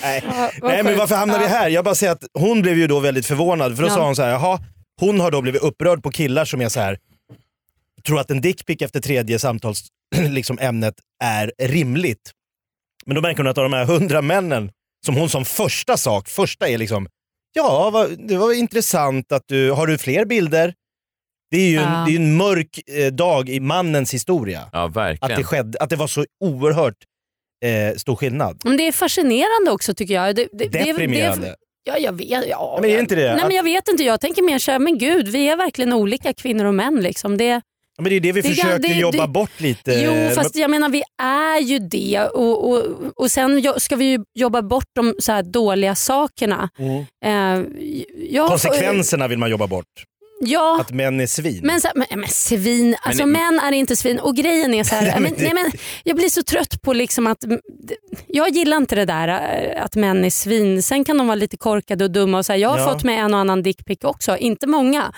Speaker 2: Nej.
Speaker 3: Ja, vad
Speaker 2: Nej men
Speaker 3: sjukt.
Speaker 2: varför hamnar vi
Speaker 3: Ja.
Speaker 2: här? Jag bara säger att hon blev ju då väldigt förvånad för då
Speaker 3: Ja.
Speaker 2: sa hon så här, jaha, hon har då blivit upprörd på killar som är så här tror att en dickpic efter tredje samtals liksom ämnet är rimligt. Men då märker hon att av de här hundra männen som hon som första sak, första är liksom, ja vad, det var intressant att du, har du fler bilder? Det är ju en,
Speaker 3: Ja.
Speaker 2: det är ju en mörk eh, dag i mannens historia.
Speaker 1: Ja,
Speaker 2: Att det,
Speaker 1: verkligen.
Speaker 2: skedde, att det var så oerhört eh, stor skillnad.
Speaker 3: Men det är fascinerande också tycker jag. Det, det, det-
Speaker 2: Deprimerande.
Speaker 3: Det, ja, jag vet. Ja,
Speaker 2: Men är det inte det?
Speaker 3: Nej,
Speaker 2: Att-
Speaker 3: men jag vet inte. Jag tänker mer så här, men gud, vi är verkligen olika kvinnor och män. Liksom. Det,
Speaker 2: Ja, Men det är det vi
Speaker 3: Det kan-
Speaker 2: försöker
Speaker 3: det-
Speaker 2: jobba
Speaker 3: det-
Speaker 2: bort lite.
Speaker 3: jo, fast jag menar vi är ju det och, och, och sen jo- ska vi ju jobba bort de så här dåliga sakerna.
Speaker 2: Mm.
Speaker 3: Eh, jag,
Speaker 2: Konsekvenserna vill man jobba bort.
Speaker 3: Ja,
Speaker 2: Att män är svin.
Speaker 3: Men, så här, men, men svin, alltså
Speaker 1: ni-
Speaker 3: män är inte svin och grejen är så här, men, nej, men, jag blir så trött på liksom att, jag gillar inte det där eh, att män är svin. Sen kan de vara lite korkade och dumma och så här, jag har
Speaker 2: Ja.
Speaker 3: fått med en och annan dickpic också, inte många.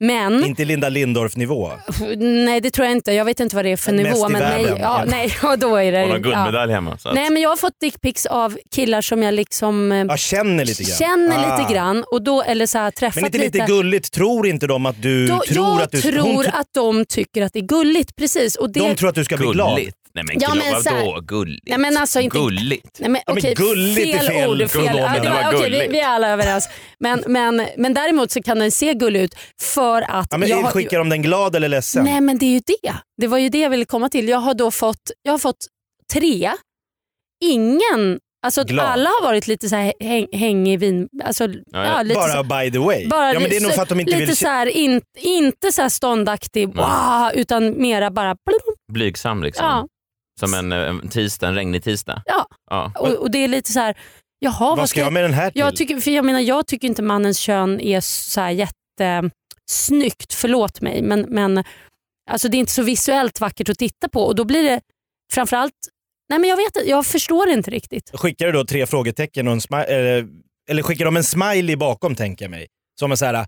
Speaker 3: Men,
Speaker 2: Inte Linda Lindorff-nivå.
Speaker 3: nej det tror jag inte, jag vet inte vad det är för
Speaker 2: Mest
Speaker 3: nivå.
Speaker 2: i
Speaker 3: Men nej,
Speaker 2: världen.
Speaker 3: ja, nej, ja, då är det,
Speaker 1: Hon har
Speaker 3: ja.
Speaker 1: guldmedalj hemma. Så att,
Speaker 3: Nej men jag har fått dickpics av killar som jag liksom eh,
Speaker 2: Jag känner lite grann.
Speaker 3: känner
Speaker 2: Ah.
Speaker 3: lite grann och då, eller så här, träffat
Speaker 2: Men inte lite gulligt, tror inte de att du
Speaker 3: Då,
Speaker 2: tror
Speaker 3: jag
Speaker 2: att du... hon
Speaker 3: tror
Speaker 2: tr-
Speaker 3: att de tycker att det är gulligt. Precis. Och det,
Speaker 2: de tror att du ska bli glad.
Speaker 1: Gulligt. Nej men,
Speaker 3: Ja,
Speaker 1: ja,
Speaker 3: men
Speaker 1: men
Speaker 3: så här-
Speaker 1: vadå gulligt?
Speaker 3: Nej, men alltså inte-
Speaker 1: Gulligt?
Speaker 3: Nej, men,
Speaker 2: Ja, men
Speaker 3: okej,
Speaker 2: gulligt är
Speaker 3: fel,
Speaker 2: fel
Speaker 3: ord. Fel. Ja,
Speaker 1: pronomen.
Speaker 3: det
Speaker 1: Det var
Speaker 3: var, okej, vi,
Speaker 1: gulligt.
Speaker 3: vi är alla överens. Men, men, men däremot så kan den se gullig ut för att...
Speaker 2: Ja, men
Speaker 3: jag har-
Speaker 2: Skickar de den glad eller ledsen?
Speaker 3: Nej men det är ju det. Det var ju det jag ville komma till. Jag har då fått, jag har fått tre. Ingen, alltså att
Speaker 2: Glad.
Speaker 3: alla har varit lite så här häng, häng i vin... Alltså,
Speaker 1: ja.
Speaker 3: ja, lite så,
Speaker 2: Bara by the way.
Speaker 3: bara
Speaker 2: ja, men det är nog
Speaker 3: så-
Speaker 2: för att de inte
Speaker 3: lite
Speaker 2: vill...
Speaker 3: så här, in, inte så här ståndaktig, wow, utan mera bara... plum.
Speaker 1: Blygsam liksom.
Speaker 3: Ja,
Speaker 1: Som en, eh, en tisdag, en regnig tisdag.
Speaker 3: Ja.
Speaker 1: ja.
Speaker 3: och, och det är lite så här, jaha
Speaker 2: Vad ska jag med den här till?
Speaker 3: Jag tycker, för jag, menar, jag tycker inte mannens kön är så här jättesnyggt, förlåt mig, men, men alltså det är inte så visuellt vackert att titta på och då blir det framförallt, nej men jag vet inte, jag förstår inte riktigt.
Speaker 2: Skickar du då tre frågetecken och en smi- eller, eller skickar de en smiley bakom tänker jag mig? Som en så här, äh,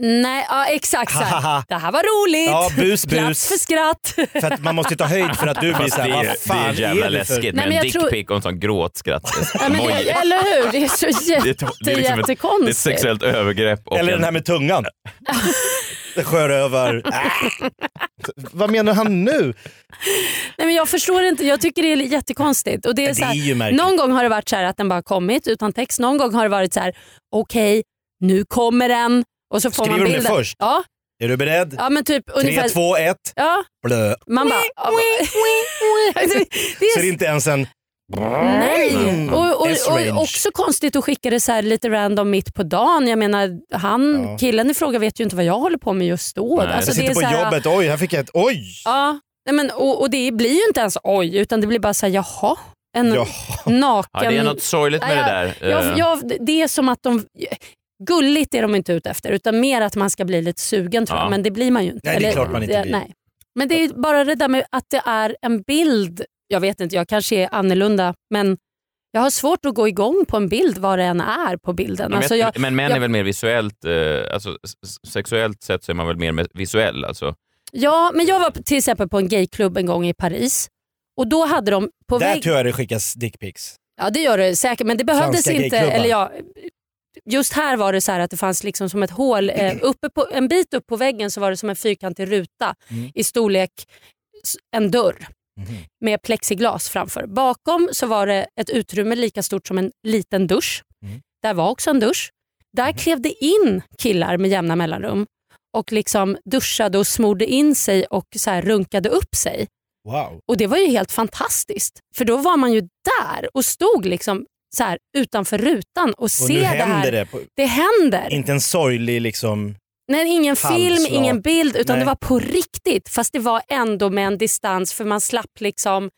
Speaker 3: Nej, ja, exakt så här.
Speaker 2: Hahaha.
Speaker 3: Det här var roligt,
Speaker 2: ja bus
Speaker 3: plats
Speaker 2: bus.
Speaker 3: för skratt.
Speaker 2: För att man måste ju ta höjd för att du blir
Speaker 1: Fast det,
Speaker 2: såhär, vad
Speaker 1: är- det är
Speaker 2: fan
Speaker 1: jävla
Speaker 2: är det för...
Speaker 1: läskigt
Speaker 3: Nej,
Speaker 1: med
Speaker 3: men
Speaker 1: en
Speaker 3: jag tror-
Speaker 1: dickpic och en sån gråtskratt.
Speaker 3: nej, men det, eller hur? Det är så
Speaker 1: Det är
Speaker 3: jätte,
Speaker 1: to- det är liksom ett- Det är ett
Speaker 3: jättekonstigt.
Speaker 1: sexuellt övergrepp. Och
Speaker 2: Eller den här
Speaker 1: en,
Speaker 2: med tungan. Sjörövar. Ah. Vad menar han nu?
Speaker 3: nej, men jag förstår inte, jag tycker det är jättekonstigt. Och det är
Speaker 2: Det
Speaker 3: så här,
Speaker 2: är ju märkligt.
Speaker 3: Någon gång har det varit så här att den bara kommit utan text. Någon gång har det varit så här, okej, nu kommer den. Och så får
Speaker 2: Skriver
Speaker 3: man
Speaker 2: de det
Speaker 3: bilden.
Speaker 2: först?
Speaker 3: Ja,
Speaker 2: Är du beredd?
Speaker 3: ja men typ
Speaker 2: Tre,
Speaker 3: ungefär.
Speaker 2: två, ett.
Speaker 3: Ja,
Speaker 2: blö.
Speaker 3: man bara... ja, men- det,
Speaker 2: Så
Speaker 3: är,
Speaker 2: det är inte Mm. ens en...
Speaker 3: nej! Och, och,
Speaker 2: That's range.
Speaker 3: och också konstigt att skicka det så här lite random mitt på dagen. Jag menar, han,
Speaker 2: Ja.
Speaker 3: killen i fråga vet ju inte vad jag håller på med just då. Alltså,
Speaker 1: Nej,
Speaker 2: Jag sitter
Speaker 3: är
Speaker 2: på
Speaker 3: så här,
Speaker 2: jobbet, oj, här fick jag ett oj.
Speaker 3: Ja, nej men, och, och det blir ju inte ens oj, utan det blir bara så här, jaha. En
Speaker 2: Ja.
Speaker 1: ja,
Speaker 3: naken...
Speaker 1: det är något sorgligt med
Speaker 3: Nej,
Speaker 1: det där.
Speaker 3: Jag,
Speaker 1: Eh,
Speaker 3: jag, det är som att de... Gulligt är de inte ute efter, utan mer att man ska bli lite sugen tror
Speaker 1: Ja.
Speaker 3: jag. Men det blir man ju inte.
Speaker 2: Nej, det är klart man inte
Speaker 3: det-
Speaker 2: blir.
Speaker 3: Nej. Men det är bara det där med att det är en bild. Jag vet inte, jag kanske är annorlunda, men jag har svårt att gå igång på en bild vad det än är på bilden.
Speaker 1: men-
Speaker 3: Alltså, jag,
Speaker 1: men män är
Speaker 3: jag-
Speaker 1: väl mer visuellt, eh, alltså, s- s- sexuellt sett så är man väl mer med- visuell. Alltså.
Speaker 3: Ja, men jag var till exempel på en gayklubb en gång i Paris och då hade de på
Speaker 2: Där
Speaker 3: väggen...
Speaker 2: tror jag det skickas dickpics.
Speaker 3: Ja det gör det säkert men det behövdes
Speaker 2: Franska
Speaker 3: inte.
Speaker 2: gayklubbar.
Speaker 3: Eller ja, just här var det så här att det fanns liksom som ett hål. Eh, uppe på, en bit upp på väggen så var det som en fyrkantig ruta
Speaker 2: Mm.
Speaker 3: i storlek s- en dörr
Speaker 2: Mhm.
Speaker 3: med plexiglas framför. Bakom så var det ett utrymme lika stort som en liten dusch.
Speaker 2: Mm.
Speaker 3: Där var också en dusch. Där klev det in killar med jämna mellanrum och liksom duschade och smorde in sig och så här runkade upp sig.
Speaker 2: Wow.
Speaker 3: Och det var ju helt fantastiskt. För då var man ju där och stod liksom så här utanför rutan och,
Speaker 2: Och nu
Speaker 3: ser det
Speaker 2: händer
Speaker 3: här.
Speaker 2: det. På,
Speaker 3: Det händer.
Speaker 2: inte en sorglig liksom...
Speaker 3: Nej, ingen film,
Speaker 2: Handslag.
Speaker 3: ingen bild utan
Speaker 2: Nej.
Speaker 3: det var på riktigt. Fast det var ändå med en distans för man slapp liksom...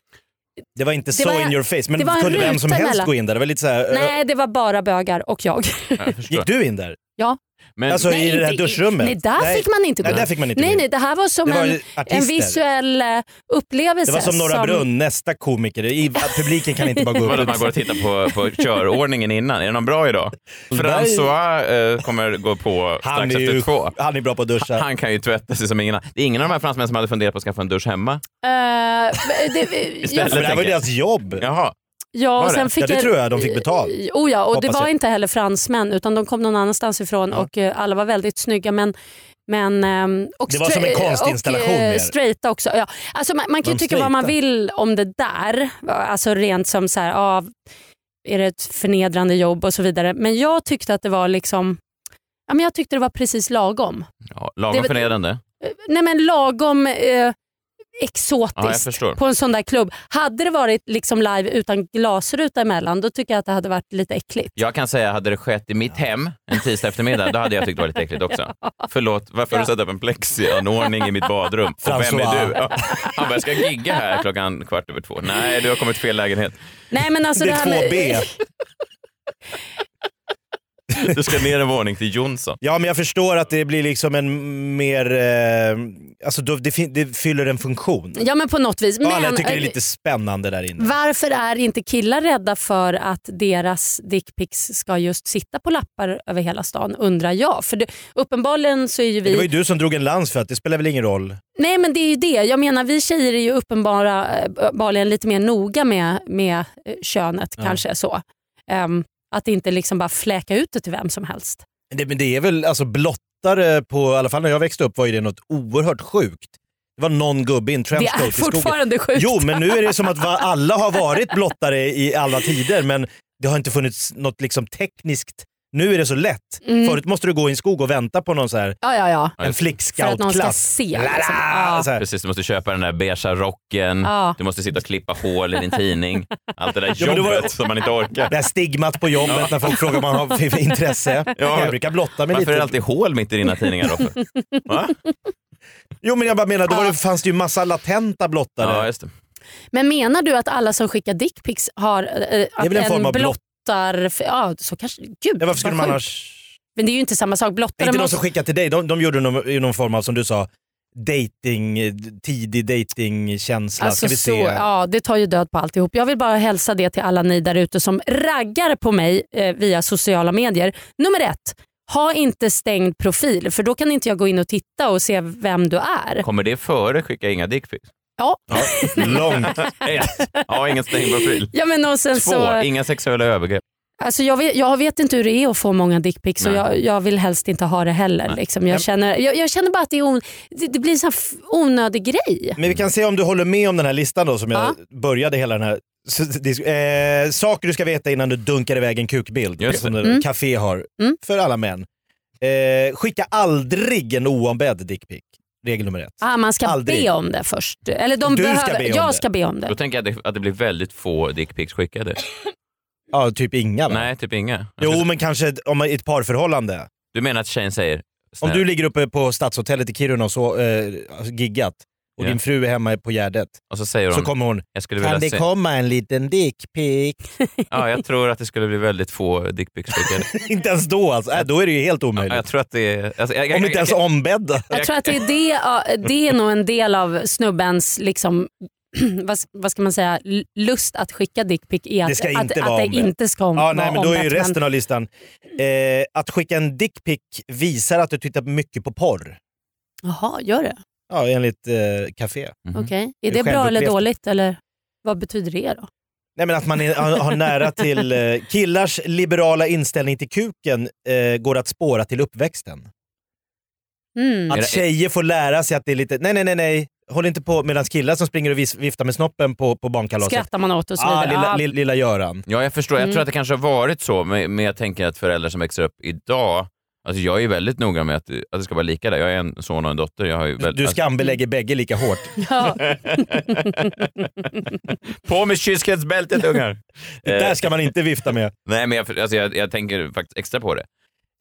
Speaker 2: Det var inte
Speaker 3: Det
Speaker 2: så
Speaker 3: var-
Speaker 2: in your face, men
Speaker 3: det var en
Speaker 2: kunde vem som
Speaker 3: ruta
Speaker 2: helst
Speaker 3: emellan.
Speaker 2: gå in där? Det var lite så här, ö,
Speaker 3: Nej, det var bara bögar och jag.
Speaker 1: Jag förstår.
Speaker 2: gick du in där?
Speaker 3: Ja.
Speaker 1: Men,
Speaker 2: Alltså
Speaker 3: Nej,
Speaker 2: i det här
Speaker 3: inte i-
Speaker 2: duschrummet?
Speaker 3: Nej, där fick man inte gå
Speaker 2: nej,
Speaker 3: in.
Speaker 2: där fick man inte
Speaker 3: nej,
Speaker 2: gå
Speaker 3: nej,
Speaker 2: in.
Speaker 3: det här var som
Speaker 2: Det var ju
Speaker 3: en, en
Speaker 2: artister.
Speaker 3: visuell eh, upplevelse.
Speaker 2: Det var som Norra Brunn, nästa komiker. I, publiken kan inte bara gå
Speaker 1: Vadå,
Speaker 2: upp.
Speaker 1: man går och tittar på, på körordningen innan? Är det någon bra idag? François eh, kommer gå på
Speaker 2: Han
Speaker 1: strax
Speaker 2: är,
Speaker 1: efter
Speaker 2: ju,
Speaker 1: två.
Speaker 2: han är bra på att duscha.
Speaker 1: Han kan ju tvätta sig som ingen annan. Det är ingen av de här fransmännen som hade funderat på att skaffa en dusch hemma.
Speaker 3: Eh, det,
Speaker 1: Istället.
Speaker 2: Men det här var
Speaker 1: tänker jag.
Speaker 2: ju deras jobb.
Speaker 1: Jaha.
Speaker 3: Ja,
Speaker 1: Var
Speaker 3: och
Speaker 1: det?
Speaker 3: sen fick
Speaker 2: Ja, det
Speaker 3: jag-
Speaker 2: tror jag de fick betalt.
Speaker 3: Oh ja, och det
Speaker 2: Hoppas
Speaker 3: var
Speaker 2: jag.
Speaker 3: inte heller fransmän utan de kom någon annanstans ifrån och eh, alla var väldigt snygga. Men, men, ehm, och
Speaker 2: Det var
Speaker 3: stra-
Speaker 2: som en konstinstallation
Speaker 3: Och, eh,
Speaker 2: mer.
Speaker 3: straighta också. Ja. Alltså, man, man kan ju
Speaker 2: De
Speaker 3: tycka vad man
Speaker 2: straighta.
Speaker 3: vill om det där. Alltså rent som så här, ah, är det ett förnedrande jobb och så vidare. Men jag tyckte att det var liksom Ja, men jag tyckte det var precis lagom.
Speaker 1: Ja,
Speaker 3: Det
Speaker 1: lagom
Speaker 3: var-
Speaker 1: förnedrande.
Speaker 3: Eh, Nej men lagom eh,
Speaker 1: Ja, jag
Speaker 3: exotiskt
Speaker 1: förstår.
Speaker 3: på en sån där klubb. Hade det varit liksom live utan glasruta emellan då tycker jag att det hade varit lite äckligt.
Speaker 1: Jag kan säga, hade det skett i mitt hem en tisdag eftermiddag, då hade jag tyckt det var lite äckligt också. Förlåt, varför har du satt upp en plexianordning i mitt badrum? Och vem är
Speaker 2: François.
Speaker 1: du? Ja. Han bara, jag ska gigga här klockan kvart över två. Nej, du har kommit till fel lägenhet.
Speaker 3: Nej, men alltså
Speaker 2: det
Speaker 3: det,
Speaker 2: är
Speaker 3: här med,
Speaker 2: 2B.
Speaker 1: Du ska ner en våning till Jonsson.
Speaker 2: Ja, men jag förstår att det blir liksom en mer... Eh, alltså då, det, fin- det fyller en funktion.
Speaker 3: Ja men på något vis.
Speaker 2: Men, Alla
Speaker 3: Men,
Speaker 2: tycker det är
Speaker 3: eh,
Speaker 2: lite spännande där inne.
Speaker 3: Varför är inte killar rädda för att deras dickpics ska just sitta på lappar över hela stan undrar jag. För det, uppenbarligen så är ju vi...
Speaker 2: Det var ju du som drog en lans för att det spelar väl ingen roll.
Speaker 3: Nej men det är ju det. Jag menar vi tjejer är ju uppenbara- eh, uppenbarligen lite mer noga med, med eh, könet kanske så. Ehm, att inte liksom bara fläka ut det till vem som helst.
Speaker 2: Det, men det är väl alltså blottare på, i alla fall när jag växte upp var ju det något oerhört sjukt. Det var någon gubbe i en
Speaker 3: Det
Speaker 2: trenchcoat
Speaker 3: är
Speaker 2: i skogen.
Speaker 3: fortfarande sjukt.
Speaker 2: Jo, men nu är det som att va, alla har varit blottare i alla tider men det har inte funnits något liksom tekniskt. Nu är det så lätt.
Speaker 3: Mm.
Speaker 2: Förut måste du gå i en skog och vänta på någon så här,
Speaker 3: Ja, ja, ja.
Speaker 1: Ja,
Speaker 2: en
Speaker 1: just
Speaker 3: För
Speaker 1: det.
Speaker 3: att någon ska
Speaker 2: flickscoutklass.
Speaker 3: se. Liksom.
Speaker 2: Ah,
Speaker 3: Ja.
Speaker 2: så här.
Speaker 1: Precis, du måste köpa den där beigea rocken.
Speaker 3: Ja.
Speaker 1: Du måste sitta och klippa hål i din tidning. Allt det där
Speaker 2: Ja, men det var-
Speaker 1: jobbet som man inte orkar.
Speaker 2: Det här stigmat på jobbet när folk frågar vad man har för intresse.
Speaker 1: Ja.
Speaker 2: Jag brukar blotta mig
Speaker 1: Varför är det
Speaker 2: lite.
Speaker 1: alltid hål mitt i dina tidningar, Roffe? Va?
Speaker 2: Jo men jag bara menar, då var det,
Speaker 3: Ja.
Speaker 2: fanns det ju massa latenta blottare.
Speaker 1: Ja, just det.
Speaker 3: Men menar du att alla som skickar dickpics har... eh, att
Speaker 2: väl en form av blott-
Speaker 3: blottar... Ja, så kanske... Gud,
Speaker 2: ja, varför skulle
Speaker 3: vad
Speaker 2: man
Speaker 3: sjukt.
Speaker 2: annars...
Speaker 3: Men det är ju inte samma sak. Blottare
Speaker 2: inte de
Speaker 3: måste...
Speaker 2: som skickade till dig, de, de gjorde någon, i någon form av, som du sa, dating, eh, tidig datingkänsla. Ska vi
Speaker 3: Alltså så,
Speaker 2: se.
Speaker 3: ja, det tar ju död på alltihop. Jag vill bara hälsa det till alla ni där ute som raggar på mig eh, via sociala medier. Nummer ett, ha inte stängd profil för då kan inte jag gå in och titta och se vem du är.
Speaker 1: Kommer det före skicka inga dickpics?
Speaker 3: Ja,
Speaker 2: Långt.
Speaker 1: Ett. Ja, ingen stängd profil.
Speaker 3: ja men och sen
Speaker 1: Två,
Speaker 3: så...
Speaker 1: inga sexuella övergrepp.
Speaker 3: Alltså jag, vet, jag vet inte hur det är att få många dickpics och
Speaker 1: Nej.
Speaker 3: jag, jag vill helst inte ha det heller. Liksom. Jag, känner, jag, jag känner bara att det, är on, det, det blir en sån här f- onödig grej.
Speaker 2: Men vi kan se om du håller med om den här listan då som jag började hela den här... s- dis- Eh, saker du ska veta innan du dunkar iväg en kukbild
Speaker 1: Just
Speaker 2: som
Speaker 1: det.
Speaker 2: en café har
Speaker 3: Mm.
Speaker 2: för alla män. Eh, skicka aldrig en oombedd dickpic. Regel nummer ett.
Speaker 3: Ah, man ska
Speaker 2: Aldrig.
Speaker 3: be om det först. Eller de
Speaker 2: Du ska
Speaker 3: behöver,
Speaker 2: be om
Speaker 3: jag
Speaker 2: det.
Speaker 3: ska be om det.
Speaker 1: Då tänker jag att det, att det blir väldigt få dickpics skickade.
Speaker 2: Ja, typ inga va?
Speaker 1: Nej, typ inga.
Speaker 2: Jo, men kanske ett- om man- i ett parförhållande.
Speaker 1: Du menar att tjejen säger
Speaker 2: Om
Speaker 1: snälla,
Speaker 2: du ligger uppe på Stadshotellet i Kiruna och så, eh, giggat och
Speaker 1: Ja.
Speaker 2: din fru är hemma på Gärdet.
Speaker 1: och så säger
Speaker 2: Så
Speaker 1: hon,
Speaker 2: kommer hon.
Speaker 1: jag skulle vilja se.
Speaker 2: komma en liten dickpic?
Speaker 1: Ja, jag tror att det skulle bli väldigt få dickpics skickade.
Speaker 2: inte ens då alltså. Äh, då är det ju helt
Speaker 1: Ja, jag
Speaker 2: omöjligt.
Speaker 1: tror att det är... Alltså, jag, jag,
Speaker 2: Om inte
Speaker 1: jag,
Speaker 2: ens ombedda.
Speaker 3: Jag tror att det är, det, ja, det är nog en del av snubbens liksom, vad, vad ska man säga, l- lust att skicka dickpic är att
Speaker 2: Det ska inte
Speaker 3: att,
Speaker 2: vara
Speaker 3: att det
Speaker 2: ombett.
Speaker 3: inte ska om,
Speaker 2: Ja, nej, men då är ju
Speaker 3: ombett,
Speaker 2: resten av listan. Eh, att skicka en dickpic visar att du tittar mycket på porr.
Speaker 3: Jaha, gör det?
Speaker 2: Ja, enligt eh, Café.
Speaker 1: Mhm.
Speaker 3: Okej. Är
Speaker 2: är
Speaker 3: det bra eller
Speaker 2: självupplevt.
Speaker 3: dåligt? Eller vad betyder det då?
Speaker 2: Nej men att man är, har, har nära till eh, killars liberala inställning till kuken eh, går att spåra till uppväxten.
Speaker 3: Mm.
Speaker 1: Är det-
Speaker 2: Att tjejer får lära sig att det är lite, nej nej nej nej, håll inte på medan killar som springer och vis, viftar med snoppen på, på barnkalaset.
Speaker 3: Skrattar man åt och så
Speaker 2: ah,
Speaker 3: vidare.
Speaker 2: lilla,
Speaker 3: Ah,
Speaker 2: lilla, lilla Göran.
Speaker 1: Ja, jag förstår. Jag
Speaker 3: Mm.
Speaker 1: tror att det kanske har varit så, men, men jag tänker att föräldrar som växer upp idag... Alltså jag är väldigt noga med att, att det ska vara lika där. Jag är en son och en dotter. Jag har ju väl,
Speaker 2: Du skambelägger bägge lika hårt.
Speaker 3: ja.
Speaker 1: alltså, på med kyskhetsbältet ungar!
Speaker 2: Det där ska man inte vifta med.
Speaker 1: Eh, Nej, men jag, alltså jag, jag tänker faktiskt extra på det.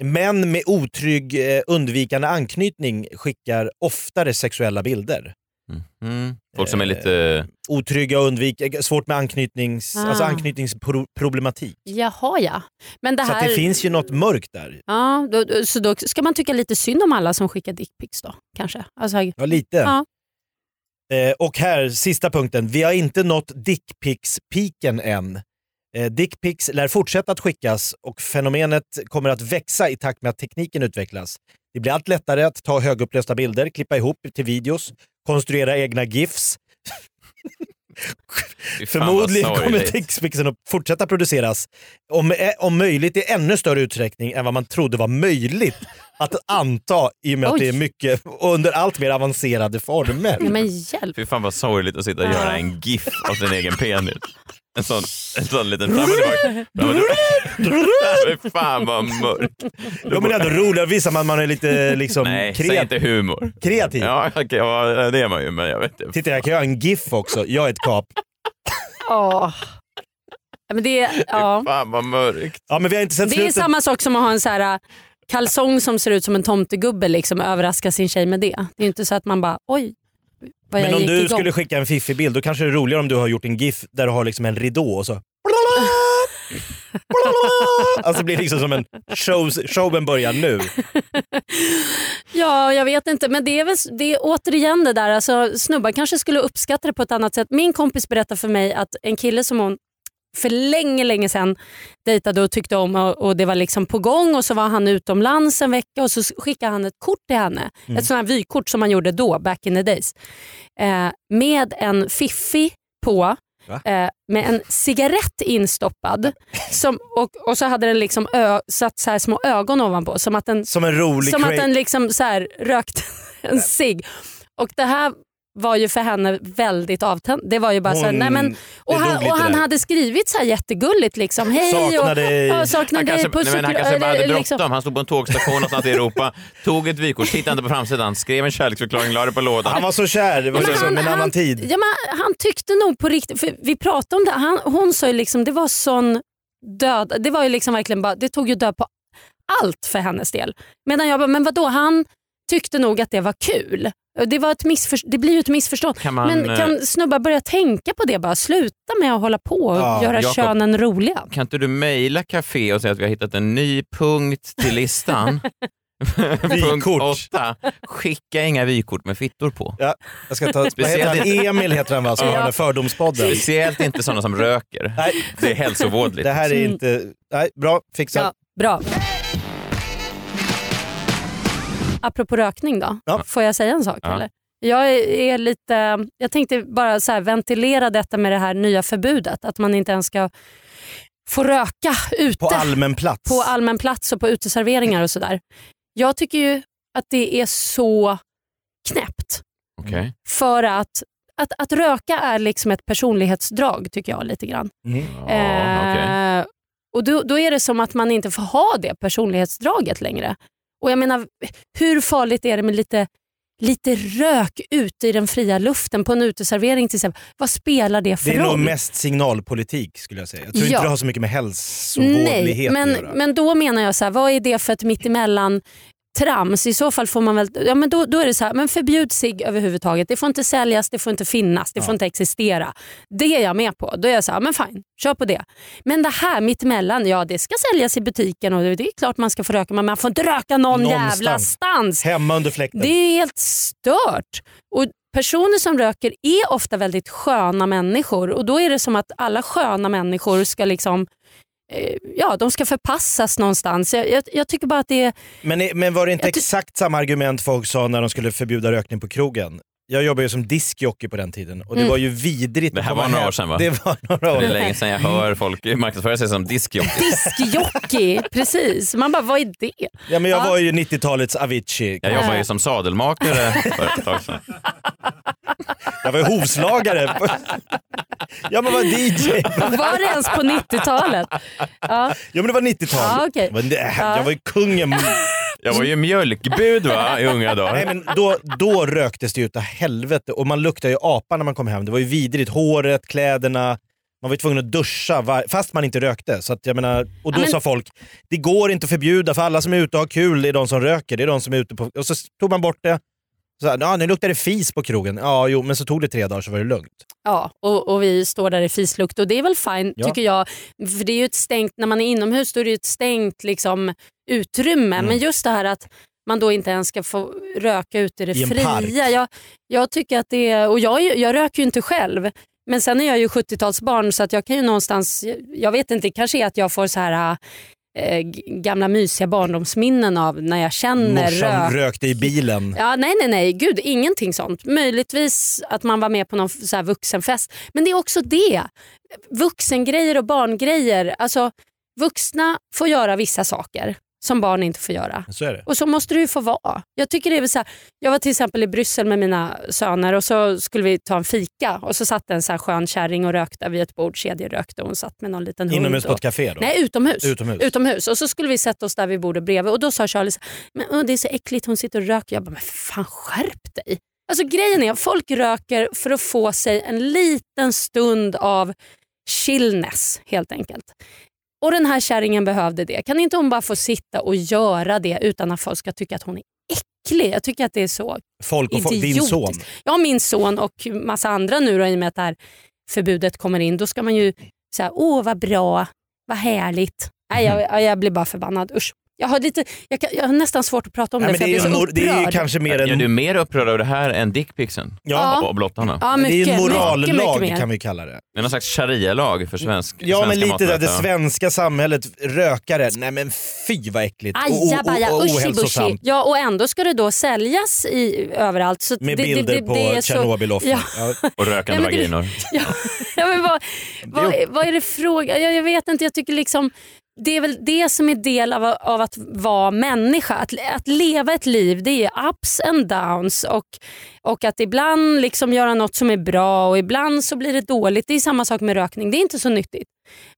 Speaker 2: Män med otrygg eh, undvikande anknytning skickar oftare sexuella bilder.
Speaker 1: Mm. Folk som är
Speaker 2: Eh,
Speaker 1: lite...
Speaker 2: Otrygga och undvik, eh, svårt med anknytnings,
Speaker 3: Ah.
Speaker 2: alltså anknytningsproblematik.
Speaker 3: Jaha ja. Men det
Speaker 2: Så att
Speaker 3: här...
Speaker 2: det finns ju något mörkt där.
Speaker 3: ja, då, då- så då ska man tycka lite synd om alla som skickar dickpics då? Kanske? Alltså,
Speaker 2: Ja, lite.
Speaker 3: Ja.
Speaker 2: Eh, och här, sista punkten. Vi har inte nått dickpics-piken än. Eh, dickpics lär fortsätta att skickas och fenomenet kommer att växa i takt med att tekniken utvecklas. Det blir allt lättare att ta högupplösta bilder, klippa ihop till videos, konstruera egna GIFs.
Speaker 1: Fy fan, vad
Speaker 2: Förmodligen kommer
Speaker 1: sorgligt.
Speaker 2: dickpicsen att fortsätta produceras, om, eh, om möjligt i ännu större utsträckning än vad man trodde var möjligt att anta i och med att
Speaker 3: Oj.
Speaker 2: det är mycket och under allt mer avancerade former.
Speaker 3: nej, men hjälp.
Speaker 1: Fy fan vad sorgligt att sitta och göra
Speaker 2: Ah.
Speaker 1: en GIF av sin egen penis. En sån, en sån liten fram och tillbaka. Fram och tillbaka. Fy fan vad mörkt.
Speaker 2: Ja, men det är ändå roligt. Då visar man att man är lite liksom,
Speaker 1: Nej, säg
Speaker 2: kreat-
Speaker 1: inte humor.
Speaker 2: kreativ.
Speaker 1: Ja, okej, ja, det är man ju, men jag vet inte.
Speaker 2: Titta, jag kan göra en GIF också. Jag är ett kap.
Speaker 3: Ja. Ja, Men det, är- ja.
Speaker 1: Fan vad mörkt.
Speaker 2: Ja, men vi har inte sett
Speaker 3: det är
Speaker 2: slutet.
Speaker 3: samma sak som att ha en så här äh, kalsong som ser ut som en tomtegubbe liksom överraska sin tjej med det. Det är ju inte så att man bara oj, vad
Speaker 2: Men
Speaker 3: jag
Speaker 2: om
Speaker 3: gick
Speaker 2: du
Speaker 3: igång.
Speaker 2: skulle skicka en fiffig bild, då kanske det är roligare om du har gjort en GIF där du har liksom en ridå och så... Alltså det blir liksom som en show, showen börjar nu.
Speaker 3: Ja, jag vet inte. Men det är, väl, det är återigen det där, alltså, snubbar kanske skulle uppskatta det på ett annat sätt. Min kompis berättade för mig att en kille som hon för länge, länge sedan dejtade och tyckte om och, och det var liksom på gång och så var han utomlands en vecka och så skickade han ett kort till henne. Ett sånt här vykort som man gjorde då, back in the days. Eh, med en fiffi på
Speaker 2: Va?
Speaker 3: eh, med en cigarett instoppad som, och, och så hade den liksom ö, satt så här små ögon ovanpå som att den
Speaker 2: Som en rolig
Speaker 3: som att
Speaker 2: cra-
Speaker 3: den liksom så här rökt en cigg. Och det här var ju för henne väldigt avtänd. Det var ju bara så här,
Speaker 2: Hon-
Speaker 3: alltså. nej men, och
Speaker 2: det
Speaker 3: han,
Speaker 2: dog lite
Speaker 3: och han
Speaker 2: där.
Speaker 3: hade skrivit så här jättegulligt liksom. Hej
Speaker 2: Saknar
Speaker 3: och,
Speaker 2: dig.
Speaker 3: Ja, saknar
Speaker 1: Han
Speaker 3: dig.
Speaker 1: kanske,
Speaker 3: puss
Speaker 1: nej, men han
Speaker 3: och kram,
Speaker 1: kanske bara hade
Speaker 3: eller
Speaker 1: bråttom.
Speaker 3: liksom.
Speaker 1: Han stod på en tågstation någonstans i Europa, tog ett vykort, tittade inte på framsidan, skrev en kärleksförklaring, la det på
Speaker 2: Han
Speaker 1: lådan.
Speaker 2: var så kär, det var
Speaker 3: Men
Speaker 2: liksom en annan
Speaker 3: han,
Speaker 2: tid.
Speaker 3: Ja, men han tyckte nog på riktigt, för vi pratade om det, han, hon sa ju liksom det var sån död, det var ju liksom verkligen bara, det tog ju död på allt för hennes del. Medan jag bara, men vadå han tyckte nog att det var kul. Det, var ett missför, det blir ju ett missförstånd.
Speaker 1: Kan man,
Speaker 3: men
Speaker 1: eh,
Speaker 3: kan snubbar börja tänka på det bara? Sluta med att hålla på och
Speaker 2: Ja,
Speaker 3: göra
Speaker 1: Jakob.
Speaker 3: könen roliga.
Speaker 1: Kan inte du mejla Café och säga att vi har hittat en ny punkt till listan? punkt
Speaker 2: Vykort.
Speaker 1: 8. Skicka inga vykort med fittor på.
Speaker 2: Ja, jag ska ta, vad heter
Speaker 1: Speciellt
Speaker 2: han? Emil heter han va, som
Speaker 1: Ja.
Speaker 2: har den där fördomspodden.
Speaker 1: Speciellt inte sådana som röker.
Speaker 2: Nej,
Speaker 1: Det är hälsovådligt.
Speaker 2: det här är inte... Nej, bra, fixat.
Speaker 3: Mm. Ja, bra. Apropå rökning då,
Speaker 2: Ja.
Speaker 3: får jag säga en sak?
Speaker 1: Ja.
Speaker 3: Eller? Jag, är, är lite, jag tänkte bara så här, ventilera detta med det här nya förbudet, att man inte ens ska få röka ute
Speaker 2: På allmän plats.
Speaker 3: på allmän plats och på uteserveringar och sådär. Jag tycker ju att det är så knäppt.
Speaker 1: Okej.
Speaker 3: För att, att, att röka är liksom ett personlighetsdrag tycker jag lite grann.
Speaker 1: Ja, okej.
Speaker 3: Eh, och då, då är det som att man inte får ha det personlighetsdraget längre. Och jag menar, hur farligt är det med lite, lite rök ute i den fria luften på en uteservering till exempel? Vad spelar det för
Speaker 2: Det är nog
Speaker 3: roll?
Speaker 2: mest signalpolitik skulle jag säga. Jag tror
Speaker 3: Ja.
Speaker 2: inte det har så mycket med hälsovådlighet
Speaker 3: Nej, men,
Speaker 2: att göra.
Speaker 3: men då menar jag så här, vad är det för ett mittemellan trams? I så fall får man väl, ja men då, då är det så här, men förbjud sig överhuvudtaget. Det får inte säljas, det får inte finnas, det får inte existera. Det är jag med på. Då är jag så här, men fine, kör på det. Men det här mittemellan, ja det ska säljas i butiken och det är klart man ska få röka men man får inte röka någon
Speaker 2: Någonstans.
Speaker 3: jävla stans.
Speaker 2: Hemma under fläkten.
Speaker 3: Det är helt stört. Och Personer som röker är ofta väldigt sköna människor och då är det som att alla sköna människor ska liksom eh, ja, de ska förpassas någonstans. Jag, jag, jag tycker bara att det är...
Speaker 2: Men, i- men var det inte
Speaker 3: Jag ty-
Speaker 2: exakt samma argument folk sa när de skulle förbjuda rökning på krogen? Jag jobbade ju som diskjockey på den tiden och det
Speaker 3: Mm.
Speaker 2: var ju vidrigt
Speaker 1: Det här
Speaker 2: att komma
Speaker 1: var några
Speaker 2: hem.
Speaker 1: år sedan, va?
Speaker 2: Det var några år
Speaker 1: Det är länge sedan jag hör folk marknadsföra sig som diskjockey.
Speaker 3: Diskjockey, precis. Man bara, vad är det?
Speaker 2: Ja, men jag
Speaker 3: Ja.
Speaker 2: var ju 90-talets Avicii.
Speaker 1: Jag jobbar ju som sadelmakare för ett tag sedan.
Speaker 2: Jag var ju hovslagare. ja men var DJ.
Speaker 3: Var det ens på 90-talet? Ja.
Speaker 2: Ja men det var 90-tal.
Speaker 3: Ja, okej.
Speaker 2: Men det-
Speaker 3: Ja.
Speaker 2: Jag var ju kungen.
Speaker 1: Jag var ju mjölkbud va, i unga dagar.
Speaker 2: Nej, men då, då röktes det ju utav helvete och man luktade ju apa när man kom hem. Det var ju vidrigt. Håret, kläderna. Man var ju tvungen att duscha var- fast man inte rökte. Så att, jag menar, och då
Speaker 3: Ja, men-
Speaker 2: sa folk, det går inte att förbjuda för alla som är ute och har kul är de som röker. Det är de som är ute på... Och så tog man bort det. Så här, ja, nu luktar det fis på krogen. Ja, jo, men så tog det tre dagar så var det lugnt.
Speaker 3: Ja, och, och vi står där i fislukt och det är väl fint
Speaker 2: Ja.
Speaker 3: tycker jag. För det är ju ett stängt, när man är inomhus då är det ju ett stängt liksom, utrymme.
Speaker 2: Mm.
Speaker 3: Men just det här att man då inte ens ska få röka ute i det
Speaker 2: I en park.
Speaker 3: fria. Jag, jag tycker att det är, och jag, är ju- jag röker ju inte själv. Men sen är jag ju 70-talsbarn så att jag kan ju någonstans, jag vet inte, det kanske är att jag får så här eh, g- gamla mysiga barndomsminnen av när jag känner
Speaker 2: Morsan
Speaker 3: Mm, rök.
Speaker 2: rökte i bilen.
Speaker 3: Ja, nej, nej, nej. Gud, ingenting sånt. Möjligtvis att man var med på någon så här vuxenfest. Men det är också det. Vuxengrejer och barngrejer. Alltså, vuxna får göra vissa saker som barn inte får göra.
Speaker 2: Så är det.
Speaker 3: Och så måste det ju få vara. Jag, tycker det är väl så här, jag var till exempel i Bryssel med mina söner och så skulle vi ta en fika och så satt en så här skön kärring och rökte vid ett bord, kedjerökte och hon satt med någon liten hund.
Speaker 2: Inomhus på
Speaker 3: och-
Speaker 2: ett café då?
Speaker 3: Nej, utomhus.
Speaker 2: Utomhus.
Speaker 3: Och så skulle vi sätta oss där vid bordet bredvid och då sa Charlie så här, men åh, det är så äckligt, hon sitter och röker. Jag bara, men för fan skärp dig. Alltså grejen är, folk röker för att få sig en liten stund av chillness helt enkelt. Och den här kärringen behövde det. Kan inte hon bara få sitta och göra det utan att folk ska tycka att hon är äcklig? Jag tycker att det är så
Speaker 2: Folk och folk, din
Speaker 3: idiotiskt.
Speaker 2: son.
Speaker 3: Ja, min son och massa andra nu då, i och med att det här förbudet kommer in. Då ska man ju säga, åh vad bra, vad härligt. Nej, jag,
Speaker 2: Mm-hmm.
Speaker 3: jag, jag blir bara förbannad. Usch. Jag har, lite, jag, kan, jag har nästan svårt att prata om
Speaker 2: Nej,
Speaker 3: det
Speaker 2: men
Speaker 3: för
Speaker 2: det, är
Speaker 3: jag
Speaker 2: ju
Speaker 3: blir så
Speaker 2: mor- det är ju
Speaker 3: upprörd.
Speaker 2: kanske mer
Speaker 1: Är
Speaker 2: en...
Speaker 1: du mer upprörd över det här än dickpixen?
Speaker 3: Ja.
Speaker 1: Och blottarna?
Speaker 3: Ja,
Speaker 2: det är ju
Speaker 3: mycket,
Speaker 2: en morallag
Speaker 3: mycket, mycket mer.
Speaker 2: kan vi kalla det.
Speaker 1: Det är någon slags sharia-lag för svensk
Speaker 2: Ja
Speaker 1: svenska
Speaker 2: men lite där,
Speaker 1: maträtter,
Speaker 2: det
Speaker 1: va?
Speaker 2: svenska samhället, rökare, nej men fy vad äckligt. Och- och-
Speaker 3: Ajabaja,
Speaker 2: och- och
Speaker 3: ushi bushi.
Speaker 2: ohälsosamt.
Speaker 3: Ja, och ändå ska det då säljas i, överallt. Så
Speaker 2: Med
Speaker 3: det, det,
Speaker 2: bilder
Speaker 3: det, det är
Speaker 2: på
Speaker 3: så-
Speaker 2: Tjernobyloffren.
Speaker 3: Ja.
Speaker 2: Ja.
Speaker 1: Och rökande
Speaker 3: Nej, men det-
Speaker 1: vaginor.
Speaker 3: Ja, ja, men vad, vad, vad är det fråga? Jag, jag vet inte, jag tycker liksom det är väl det som är del av, av att vara människa. Att, att leva ett liv det är ups and downs och, och att ibland liksom göra något som är bra och ibland så blir det dåligt. Det är samma sak med rökning, det är inte så nyttigt.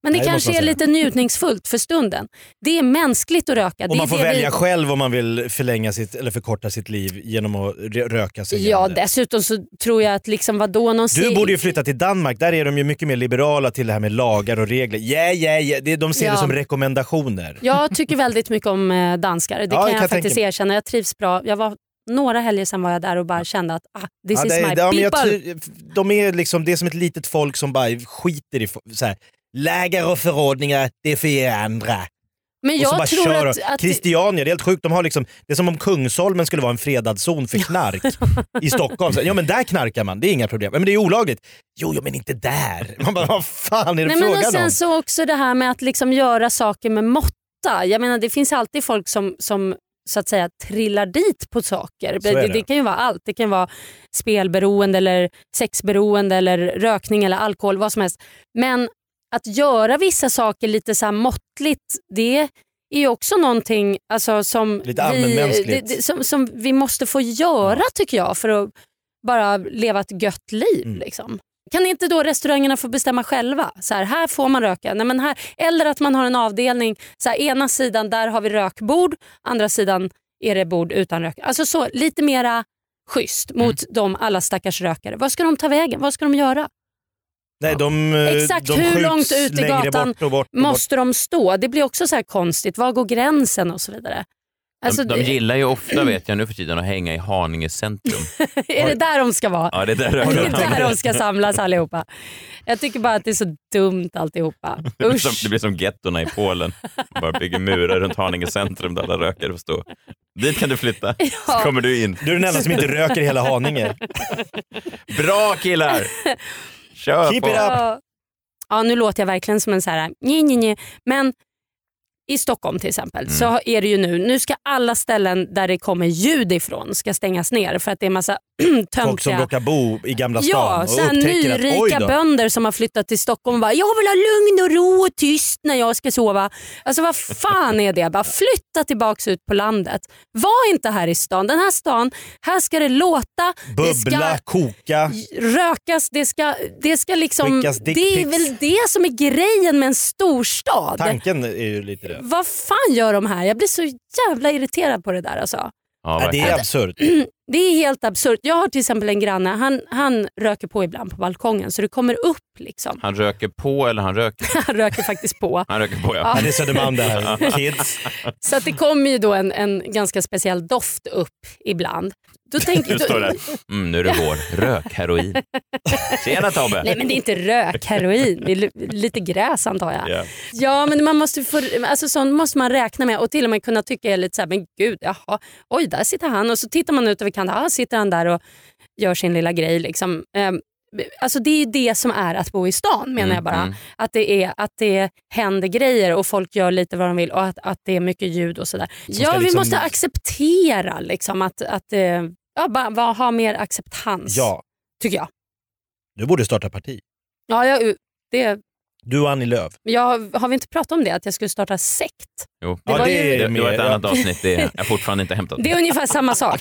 Speaker 3: Men det
Speaker 2: Nej, det måste
Speaker 3: kanske
Speaker 2: man
Speaker 3: är
Speaker 2: säga.
Speaker 3: lite njutningsfullt för stunden. Det är mänskligt att röka.
Speaker 2: Och
Speaker 3: det är
Speaker 2: man får
Speaker 3: det vi-
Speaker 2: välja själv om man vill förlänga sitt, eller förkorta sitt liv genom att rö- röka sig
Speaker 3: Ja,
Speaker 2: igenom det.
Speaker 3: dessutom så tror jag att liksom vadå någon
Speaker 2: Du
Speaker 3: ser-
Speaker 2: borde ju flytta till Danmark, där är de ju mycket mer liberala till det här med lagar och regler. Yeah, yeah, yeah. Det- De ser
Speaker 3: Ja.
Speaker 2: det som rekommendationer.
Speaker 3: Jag tycker väldigt mycket om eh, danskar. Det
Speaker 2: Ja,
Speaker 3: kan
Speaker 2: det
Speaker 3: jag,
Speaker 2: kan jag
Speaker 3: faktiskt
Speaker 2: tänka
Speaker 3: erkänna. Jag trivs bra. Jag var, några helger sedan var jag där och bara kände att ah, this is
Speaker 2: det,
Speaker 3: my
Speaker 2: ja, men jag
Speaker 3: people.
Speaker 2: tror- de är liksom, det är som ett litet folk som bara skiter i fo- så här, läger och förordningar, det är för er andra.
Speaker 3: men
Speaker 2: Och så bara
Speaker 3: jag tror
Speaker 2: kör
Speaker 3: att,
Speaker 2: de.
Speaker 3: att
Speaker 2: Christiania, det är helt sjukt. De har liksom, det är som om Kungsholmen skulle vara en fredad zon för knark i Stockholm. Så, ja men där knarkar man, det är inga problem. Men det är olagligt. Jo, jo men inte där. Man bara, vad fan är det
Speaker 3: Nej, men och
Speaker 2: frågan om?
Speaker 3: sen så också det här med att liksom göra saker med måtta. Jag menar det finns alltid folk som, som så att säga trillar dit på saker.
Speaker 2: Så är
Speaker 3: Det,
Speaker 2: det.
Speaker 3: det kan ju vara allt. Det kan vara spelberoende, eller sexberoende, eller rökning eller alkohol, vad som helst. Men att göra vissa saker lite så här måttligt, det är ju också någonting alltså, som,
Speaker 2: Lite
Speaker 3: vi,
Speaker 2: allmänmänskligt.
Speaker 3: det- det- som, som vi måste få göra tycker jag för att bara leva ett gött liv.
Speaker 2: Mm.
Speaker 3: Liksom. Kan inte då restaurangerna få bestämma själva? Så här, här får man röka. Nej, men här, eller att man har en avdelning, så här, ena sidan där har vi rökbord, andra sidan är det bord utan rök. Alltså så, lite mera schysst mot
Speaker 2: Mm.
Speaker 3: de alla stackars rökare. Vad ska de ta vägen? Vad ska de göra?
Speaker 2: Nej, de, eh,
Speaker 3: Exakt
Speaker 2: de
Speaker 3: hur
Speaker 2: skjuts
Speaker 3: långt ut i
Speaker 2: längre
Speaker 3: gatan
Speaker 2: bort och bort och
Speaker 3: Måste de stå? Det blir också så här konstigt. Var går gränsen och så vidare? Alltså,
Speaker 1: de, de gillar ju ofta, vet jag nu för tiden, att hänga i Haninge centrum.
Speaker 3: är det där de ska vara?
Speaker 1: Ja, det är där
Speaker 3: Det är
Speaker 1: rökarna hänger.
Speaker 3: där de ska samlas allihopa. Jag tycker bara att det är så dumt alltihopa.
Speaker 1: det blir, som,
Speaker 3: Usch.
Speaker 1: det blir som gettorna i Polen. Man bara bygger murar runt Haninge centrum där alla rökare får stå. Dit kan du flytta, så
Speaker 3: Ja.
Speaker 1: kommer du in.
Speaker 2: bort. Du är den enda som inte röker i hela Haninge.
Speaker 1: Bra killar! Kör
Speaker 2: Keep
Speaker 1: på!
Speaker 2: it up.
Speaker 3: Ja. ja, nu låter jag verkligen som en så här, nj, nj, nj. men i Stockholm till exempel
Speaker 1: Mm.
Speaker 3: så är det ju nu, nu ska alla ställen där det kommer ljud ifrån ska stängas ner för att det är massa töntiga...
Speaker 2: Folk som råkar bo i Gamla stan
Speaker 3: Ja,
Speaker 2: och
Speaker 3: så här
Speaker 2: upptäcker att oj
Speaker 3: nyrika
Speaker 2: då.
Speaker 3: bönder som har flyttat till Stockholm och bara “jag vill ha lugn och ro och tyst när jag ska sova”. Alltså vad fan är det? Bara flytta tillbaks ut på landet. Var inte här i stan. Den här stan, här ska det låta, det
Speaker 2: Bubbla,
Speaker 3: ska
Speaker 2: koka.
Speaker 3: rökas, det ska, det ska liksom...
Speaker 2: Skickas dick
Speaker 3: Det är
Speaker 2: pics.
Speaker 3: väl det som är grejen med en storstad.
Speaker 2: Tanken är ju lite det.
Speaker 3: Vad fan gör de här? Jag blir så jävla irriterad på det där alltså.
Speaker 1: Ja,
Speaker 2: Ja, det
Speaker 1: verkligen.
Speaker 2: är absurt.
Speaker 3: Det är helt absurt. Jag har till exempel en granne, han, han röker på ibland på balkongen så det kommer upp liksom.
Speaker 1: Han röker på eller han röker?
Speaker 3: Han röker faktiskt på.
Speaker 1: Han röker på
Speaker 3: Ja.
Speaker 1: ja.
Speaker 2: Ja, det är Södermalm det här. Kids.
Speaker 3: Så att det kommer ju då en, en ganska speciell doft upp ibland. Då tänker,
Speaker 1: Nu står det.
Speaker 3: då,
Speaker 1: här. Mm, nu är det vår. Rök, heroin. Tjena Tobbe!
Speaker 3: nej men det är inte rök, heroin, det är li- lite gräs antar jag.
Speaker 1: Ja.
Speaker 3: Ja men man måste få, alltså sånt måste man räkna med och till och med kunna tycka är lite så här, men gud, jaha, oj där sitter han och så tittar man ut över kanten, ah, sitter han där och gör sin lilla grej liksom. Ehm, Alltså det är ju det som är att bo i stan
Speaker 1: Mm,
Speaker 3: menar jag bara. Att, det är, att det händer grejer och folk gör lite vad de vill och att, att det är mycket ljud och sådär. Ja vi
Speaker 2: liksom-
Speaker 3: måste acceptera liksom att, att eh, ja, bara, bara ha mer acceptans
Speaker 2: Ja,
Speaker 3: tycker jag.
Speaker 2: du borde starta parti.
Speaker 3: Ja, jag, det,
Speaker 2: Du och Annie Lööf.
Speaker 3: jag. Har vi inte pratat om det? Att jag skulle starta sekt?
Speaker 1: Jo.
Speaker 3: Det
Speaker 2: Ja,
Speaker 3: var
Speaker 2: det
Speaker 3: ju-
Speaker 2: är
Speaker 1: Det, det var ett
Speaker 2: mer-
Speaker 1: annat avsnitt. Det är, jag har fortfarande inte hämtat.
Speaker 3: Det är ungefär samma sak.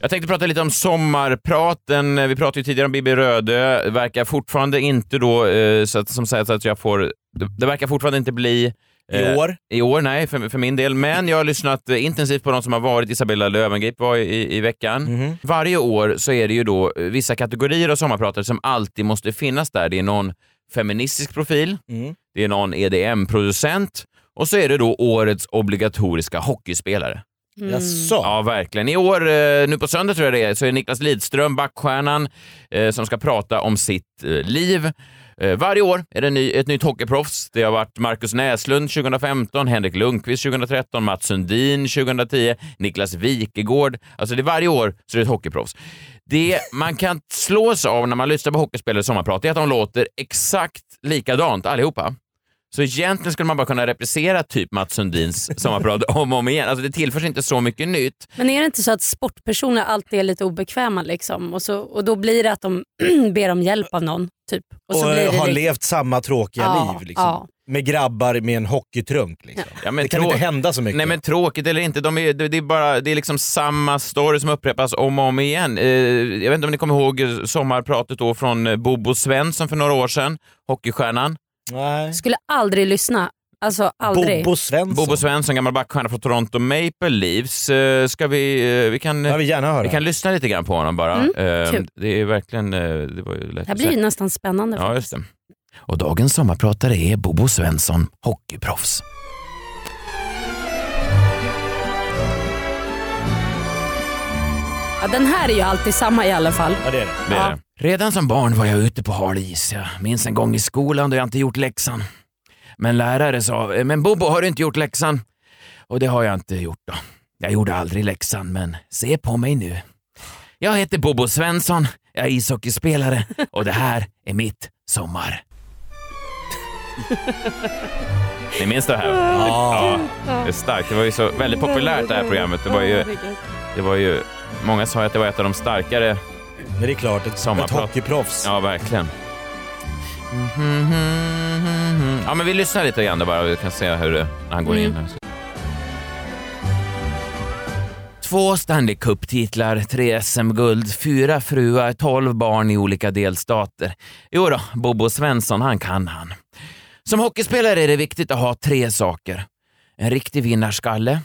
Speaker 1: Jag tänkte prata lite om sommarpraten. Vi pratade ju tidigare om Bibi Rödö. Det verkar fortfarande inte då, eh, så att, som sagt, att jag får... Det, det verkar fortfarande inte bli... eh,
Speaker 2: I år.
Speaker 1: I år, nej, för, för min del. Men jag har lyssnat eh, intensivt på de som har varit. Isabella Löwengrip var i, i veckan. Varje år så är det ju då eh, vissa kategorier av sommarpratare som alltid måste finnas där. Det är någon feministisk profil,
Speaker 2: Mm.
Speaker 1: det är någon EDM-producent och så är det då årets obligatoriska hockeyspelare.
Speaker 2: Jaså?
Speaker 1: Mm. Ja, verkligen. I år, eh, nu på söndag tror jag det är, så är Niklas Lidström, backstjärnan, eh, som ska prata om sitt eh, liv. Eh, Varje år är det en ny, ett nytt hockeyproffs. Det har varit Marcus Näslund 2015, Henrik Lundqvist 2013, Mats Sundin 2010, Niklas Wikegård. Alltså det är varje år så är det ett hockeyproffs. Det man kan slås av när man lyssnar på hockeyspelare i sommarprat är att de låter exakt likadant allihopa. Så egentligen skulle man bara kunna reprisera typ Mats Sundins sommarprat om och om igen. Alltså det tillförs inte så mycket nytt.
Speaker 3: Men är det inte så att sportpersoner alltid är lite obekväma liksom? och, så, och då blir det att de ber om hjälp av någon? typ.
Speaker 2: Och,
Speaker 3: så blir det
Speaker 2: har
Speaker 3: det-
Speaker 2: levt samma tråkiga
Speaker 3: Ja,
Speaker 2: liv. Liksom.
Speaker 3: ja.
Speaker 2: Med grabbar med en hockeytrunk. Liksom.
Speaker 1: Ja, men
Speaker 2: det kan
Speaker 1: trå-
Speaker 2: inte hända så mycket.
Speaker 1: Nej men tråkigt eller inte, de är, det, det är bara, det är liksom samma story som upprepas om och om igen. Eh, jag vet inte om ni kommer ihåg eh, sommarpratet då från eh, Bobo Svensson för några år sedan, hockeystjärnan.
Speaker 2: Nej.
Speaker 3: Skulle aldrig lyssna. Alltså aldrig.
Speaker 2: Bobo Svensson.
Speaker 1: Bobo Svensson, gammal backstjärna från Toronto Maple Leafs. Eh, ska vi, eh, vi kan...
Speaker 2: Jag vill gärna höra.
Speaker 1: vi kan lyssna lite grann på honom bara.
Speaker 3: Mm,
Speaker 1: Eh,
Speaker 3: kul.
Speaker 1: det är verkligen... eh, Det, var ju lätt
Speaker 3: det här
Speaker 1: att
Speaker 3: blir
Speaker 1: säga.
Speaker 3: ju nästan spännande.
Speaker 1: Ja, just det. Och dagens sommarpratare är Bobo Svensson, hockeyproffs.
Speaker 3: Ja, den här är ju alltid samma i alla fall.
Speaker 2: Ja, det är det.
Speaker 1: Det är det. Redan som barn var jag ute på hal is. Jag minns en gång i skolan då jag inte gjort läxan. Men lärare sa, "Eh, men Bobo har du inte gjort läxan? Och det har jag inte gjort då. Jag gjorde aldrig läxan, men se på mig nu. Jag heter Bobo Svensson, jag är ishockeyspelare och det här är mitt sommar. Ni minns det här? Ja. Det är starkt. Det var ju så väldigt populärt det här programmet. Det var ju, det var ju, många sa att det var ett av de starkare
Speaker 2: Men det är klart, ett, ett
Speaker 1: Sommarprat.
Speaker 2: hockeyproffs.
Speaker 1: Ja, verkligen. Ja, men vi lyssnar lite grann då bara. Vi kan se hur det, när han går in här. Två Stanley Cup-titlar, tre SM-guld, fyra fruar, tolv barn i olika delstater. Jo då, Bobo Svensson, han kan han. Som hockeyspelare är det viktigt att ha tre saker. En riktig vinnarskalle,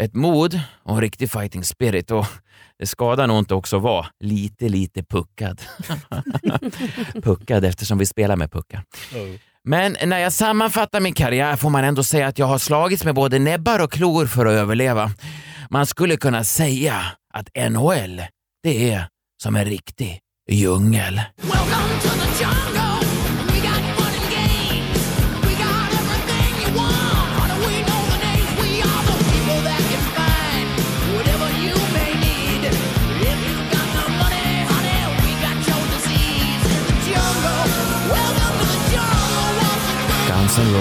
Speaker 1: ett mod och en riktig fighting spirit. Och det skadar nog inte också att vara lite, lite puckad. puckad eftersom vi spelar med puckar. Men när jag sammanfattar min karriär får man ändå säga att jag har slagits med både näbbar och klor för att överleva. Man skulle kunna säga att NHL, det är som en riktig djungel.
Speaker 6: Whatever you may need, if you've got the money, honey.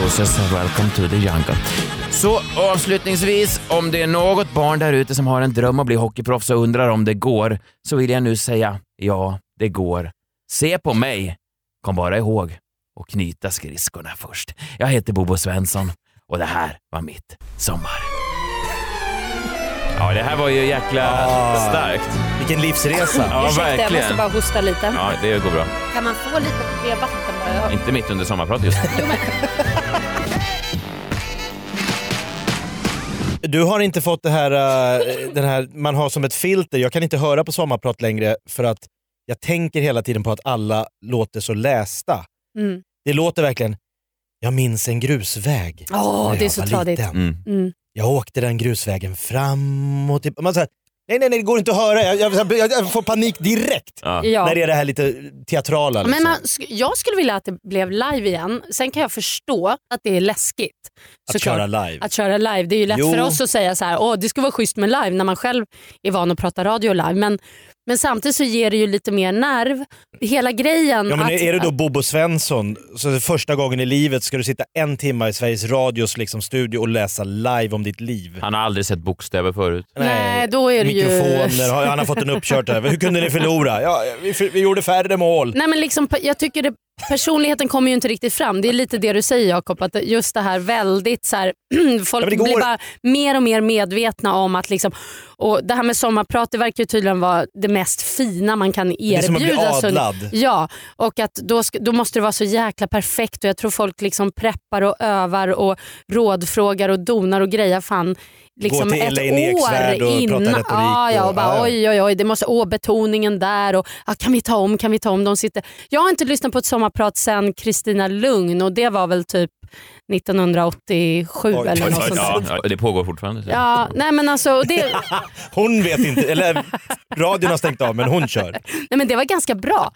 Speaker 1: Horses, welcome to the jungle. Så avslutningsvis, om det är något barn där ute som har en dröm att bli hockeyproffs och undrar om det går, så vill jag nu säga ja, det går. Se på mig, kom bara ihåg och knyta skridskorna först. Jag heter Bobo Svensson och det här var mitt sommar. Ja, det här var ju jäkla starkt.
Speaker 2: Vilken livsresa.
Speaker 1: Ja,
Speaker 3: Ursäkta, Ah. jag måste
Speaker 1: verkligen.
Speaker 3: bara hosta lite.
Speaker 1: Ja, det går bra.
Speaker 3: Kan man få lite mer vatten? bara?
Speaker 1: Inte mitt under sommarpratet just nu.
Speaker 2: Du har inte fått det här, eh, den här man har som ett filter. Jag kan inte höra på sommarprat längre för att jag tänker hela tiden på att alla låter så lästa.
Speaker 3: Mm.
Speaker 2: Det låter verkligen, jag minns en grusväg.
Speaker 3: Åh,
Speaker 2: när
Speaker 3: det är
Speaker 2: jag
Speaker 3: så
Speaker 2: var
Speaker 3: tradigt.
Speaker 2: liten.
Speaker 1: Mm.
Speaker 3: Mm.
Speaker 2: Jag åkte den grusvägen fram och tillbaka. Man säger, nej, nej, nej, det går inte att höra. Jag, jag, jag, jag får panik direkt
Speaker 1: Ja.
Speaker 3: Ja.
Speaker 2: när det är det här lite teatrala. Liksom.
Speaker 3: Men man, sk- jag skulle vilja att det blev live igen. Sen kan jag förstå att det är läskigt.
Speaker 2: att
Speaker 3: såklart.
Speaker 2: köra live.
Speaker 3: Att köra live. Det är ju lätt
Speaker 2: Jo.
Speaker 3: för oss att säga så här, Åh, det skulle vara schysst med live när man själv är van att prata radio live. Men, men samtidigt så ger det ju lite mer nerv. Hela grejen
Speaker 2: Ja, men
Speaker 3: Mm, att,
Speaker 2: är det då
Speaker 3: att-
Speaker 2: Bobo Svensson, så det första gången i livet ska du sitta en timme i Sveriges Radios liksom, studio och läsa live om ditt liv?
Speaker 1: Han har aldrig sett bokstäver förut.
Speaker 3: Ah, Nej, då är det ju-
Speaker 2: Mikrofoner, har- han har fått en uppkört här. Hur kunde ni förlora? Ja, vi, för- vi gjorde färre mål.
Speaker 3: Nej, men liksom, jag tycker det, personligheten kommer ju inte riktigt fram. Det är lite det du säger Jakob, att just det här väldigt så här, folk
Speaker 2: men det går-
Speaker 3: blir bara mer och mer medvetna om att liksom, och det här med sommarprat det verkar ju tydligen vara det mest fina man kan
Speaker 2: Det är som att bli
Speaker 3: erbjuda. Så-
Speaker 2: adlad.
Speaker 3: Ja, och att då, sk- då måste det vara så jäkla perfekt och jag tror folk liksom preppar och övar och rådfrågar och donar och grejar fan liksom
Speaker 2: Gå till
Speaker 3: ett
Speaker 2: Elaine Eksvärd
Speaker 3: år
Speaker 2: och prata
Speaker 3: innan.
Speaker 2: retorik
Speaker 3: ja, ja,
Speaker 2: och-
Speaker 3: och bara,
Speaker 2: ja, ja.
Speaker 3: Oj, oj, oj, det måste, åh, betoningen där och ah, kan vi ta om, kan vi ta om. De sitter. Jag har inte lyssnat på ett sommarprat sen Kristina Lugn och det var väl typ 1987
Speaker 2: Oj,
Speaker 3: eller
Speaker 2: oj,
Speaker 3: något
Speaker 2: oj,
Speaker 3: sånt där.
Speaker 1: Ja, ja, det pågår fortfarande. så.
Speaker 3: Ja, nej men alltså, och det,
Speaker 2: Hon vet inte, eller radion har stängt av men hon kör.
Speaker 3: nej, men det var ganska bra,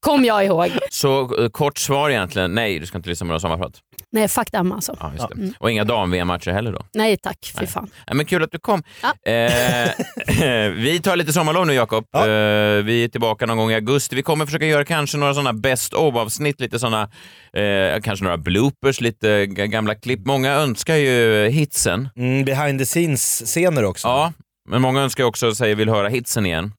Speaker 3: kom jag ihåg.
Speaker 1: Så eh, kort svar egentligen, nej du ska inte lyssna på några sommarprat.
Speaker 3: Nej, fuck dem alltså.
Speaker 1: Ja, just det. Och inga dam-VM-matcher heller då.
Speaker 3: Nej tack, fy fan.
Speaker 1: Ja, men kul att du kom.
Speaker 3: Ja.
Speaker 1: Eh, vi tar lite sommarlov nu Jakob.
Speaker 2: Ja.
Speaker 1: Eh, vi är tillbaka någon gång i augusti. Vi kommer försöka göra kanske några sådana best of-avsnitt, lite sådana, eh, kanske några bloopers, lite g- gamla klipp. Många önskar ju hitsen.
Speaker 2: Mm, behind the scenes-scener också.
Speaker 1: Ja, men många önskar också säger vill höra hitsen igen.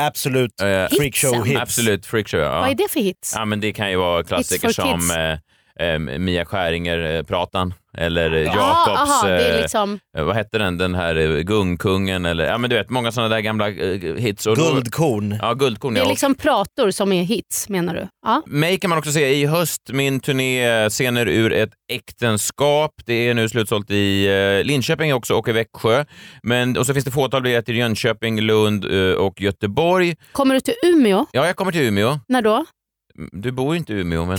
Speaker 2: Absolut.
Speaker 1: Eh,
Speaker 2: Freakshow hits.
Speaker 1: absolut, freakshow. Ja.
Speaker 3: Vad är det för hits?
Speaker 1: Ja, men det kan ju vara klassiker
Speaker 3: It's for
Speaker 1: som
Speaker 3: kids.
Speaker 1: eh, eh, Mia Skäringer-pratan eller eh,
Speaker 3: Ja,
Speaker 1: Jakobs,
Speaker 3: aha, det är
Speaker 1: eh,
Speaker 3: liksom,
Speaker 1: eh, vad hette den, den här eh, Gungkungen eller, ja men du vet, många sådana där gamla eh, hits. Och då-
Speaker 2: Guldkorn.
Speaker 1: Ja, guldkorn.
Speaker 3: det är
Speaker 1: ja.
Speaker 3: liksom prator som är hits menar du? Ja.
Speaker 1: Mig kan man också se i höst, min turné eh, Scener ur ett äktenskap. Det är nu slutsålt i eh, Linköping också och i Växjö. Men, och så finns det fåtal biljetter i Jönköping, Lund eh, och Göteborg.
Speaker 3: Kommer du till Umeå?
Speaker 1: Ja, jag kommer till Umeå.
Speaker 3: När då?
Speaker 1: Du bor ju inte i Umeå, men...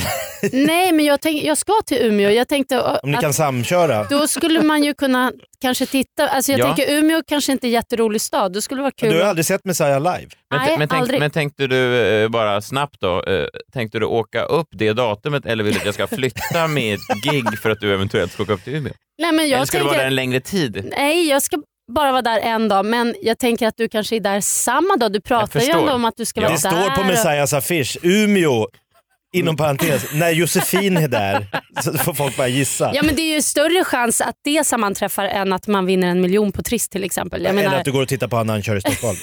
Speaker 3: Nej men jag, tänk, jag ska till Umeå. Jag tänkte ö,
Speaker 2: Om ni
Speaker 3: att
Speaker 2: kan samköra.
Speaker 3: då skulle man ju kunna kanske titta. Alltså jag
Speaker 1: Ja.
Speaker 3: tänker Umeå kanske inte är en jätterolig stad. Då skulle det vara kul.
Speaker 2: Du har aldrig sett Messiah live?
Speaker 1: Men,
Speaker 3: Nej,
Speaker 1: men, tänk,
Speaker 3: aldrig.
Speaker 1: men tänkte du, eh, bara snabbt då, eh, tänkte du åka upp det datumet eller vill du att jag ska flytta mitt gig för att du eventuellt ska åka upp till Umeå?
Speaker 3: Nej, men
Speaker 1: eller
Speaker 3: jag
Speaker 1: ska du vara där
Speaker 3: tänker,
Speaker 1: en längre tid?
Speaker 3: nej, jag ska bara vara där en dag. Men jag tänker att du kanske är där samma dag. Du pratar ju
Speaker 1: förstår.
Speaker 3: ändå om att du ska
Speaker 1: Ja.
Speaker 3: vara
Speaker 2: Det
Speaker 3: där.
Speaker 2: står på
Speaker 3: och-
Speaker 2: Messiahs affisch, Umeå, inom parentes, när Josefin är där. Så får folk bara gissa.
Speaker 3: Ja men det är ju större chans att det sammanträffar än att man vinner en miljon på Triss till exempel. Jag
Speaker 2: Eller
Speaker 3: menar,
Speaker 2: att du går och tittar på honom när han kör i Stockholm.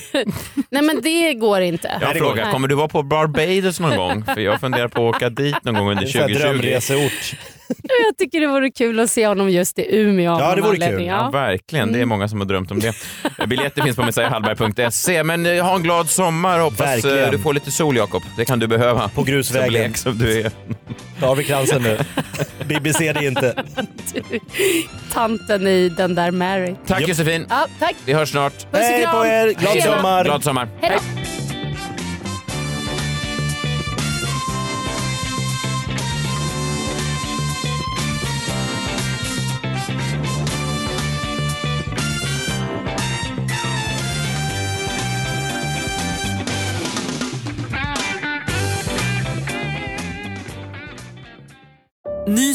Speaker 3: Nej men det går inte.
Speaker 1: Jag
Speaker 2: det går
Speaker 1: frågar,
Speaker 3: inte.
Speaker 1: kommer du vara på Barbados någon gång? För jag funderar på att åka dit någon gång under
Speaker 2: Det är en sån här
Speaker 1: 2020.
Speaker 2: drömreseort.
Speaker 3: Jag tycker det vore kul att se honom just i Umeå. av
Speaker 2: Ja, Mm. det
Speaker 3: någon
Speaker 2: vore kul.
Speaker 3: anledning.
Speaker 1: Ja,
Speaker 3: Ja.
Speaker 1: verkligen. Det är många som har drömt om det. Biljetter finns på messiahallberg.se. Men eh, ha en glad sommar. Hoppas eh,
Speaker 2: Verkligen.
Speaker 1: du får lite sol, Jakob. Det kan du behöva.
Speaker 2: På grusvägen.
Speaker 1: Så blek som du är.
Speaker 2: Tar vi kransen nu. Bibi ser det inte.
Speaker 3: Tanten i den där Mary.
Speaker 1: Tack
Speaker 2: Japp.
Speaker 1: Josefin.
Speaker 3: Ja, tack.
Speaker 1: Vi hörs snart.
Speaker 3: och
Speaker 2: Hej på
Speaker 3: kram.
Speaker 2: er! Glad
Speaker 3: Hej då.
Speaker 2: sommar!
Speaker 1: Glad sommar.
Speaker 3: Hej då.
Speaker 4: Ny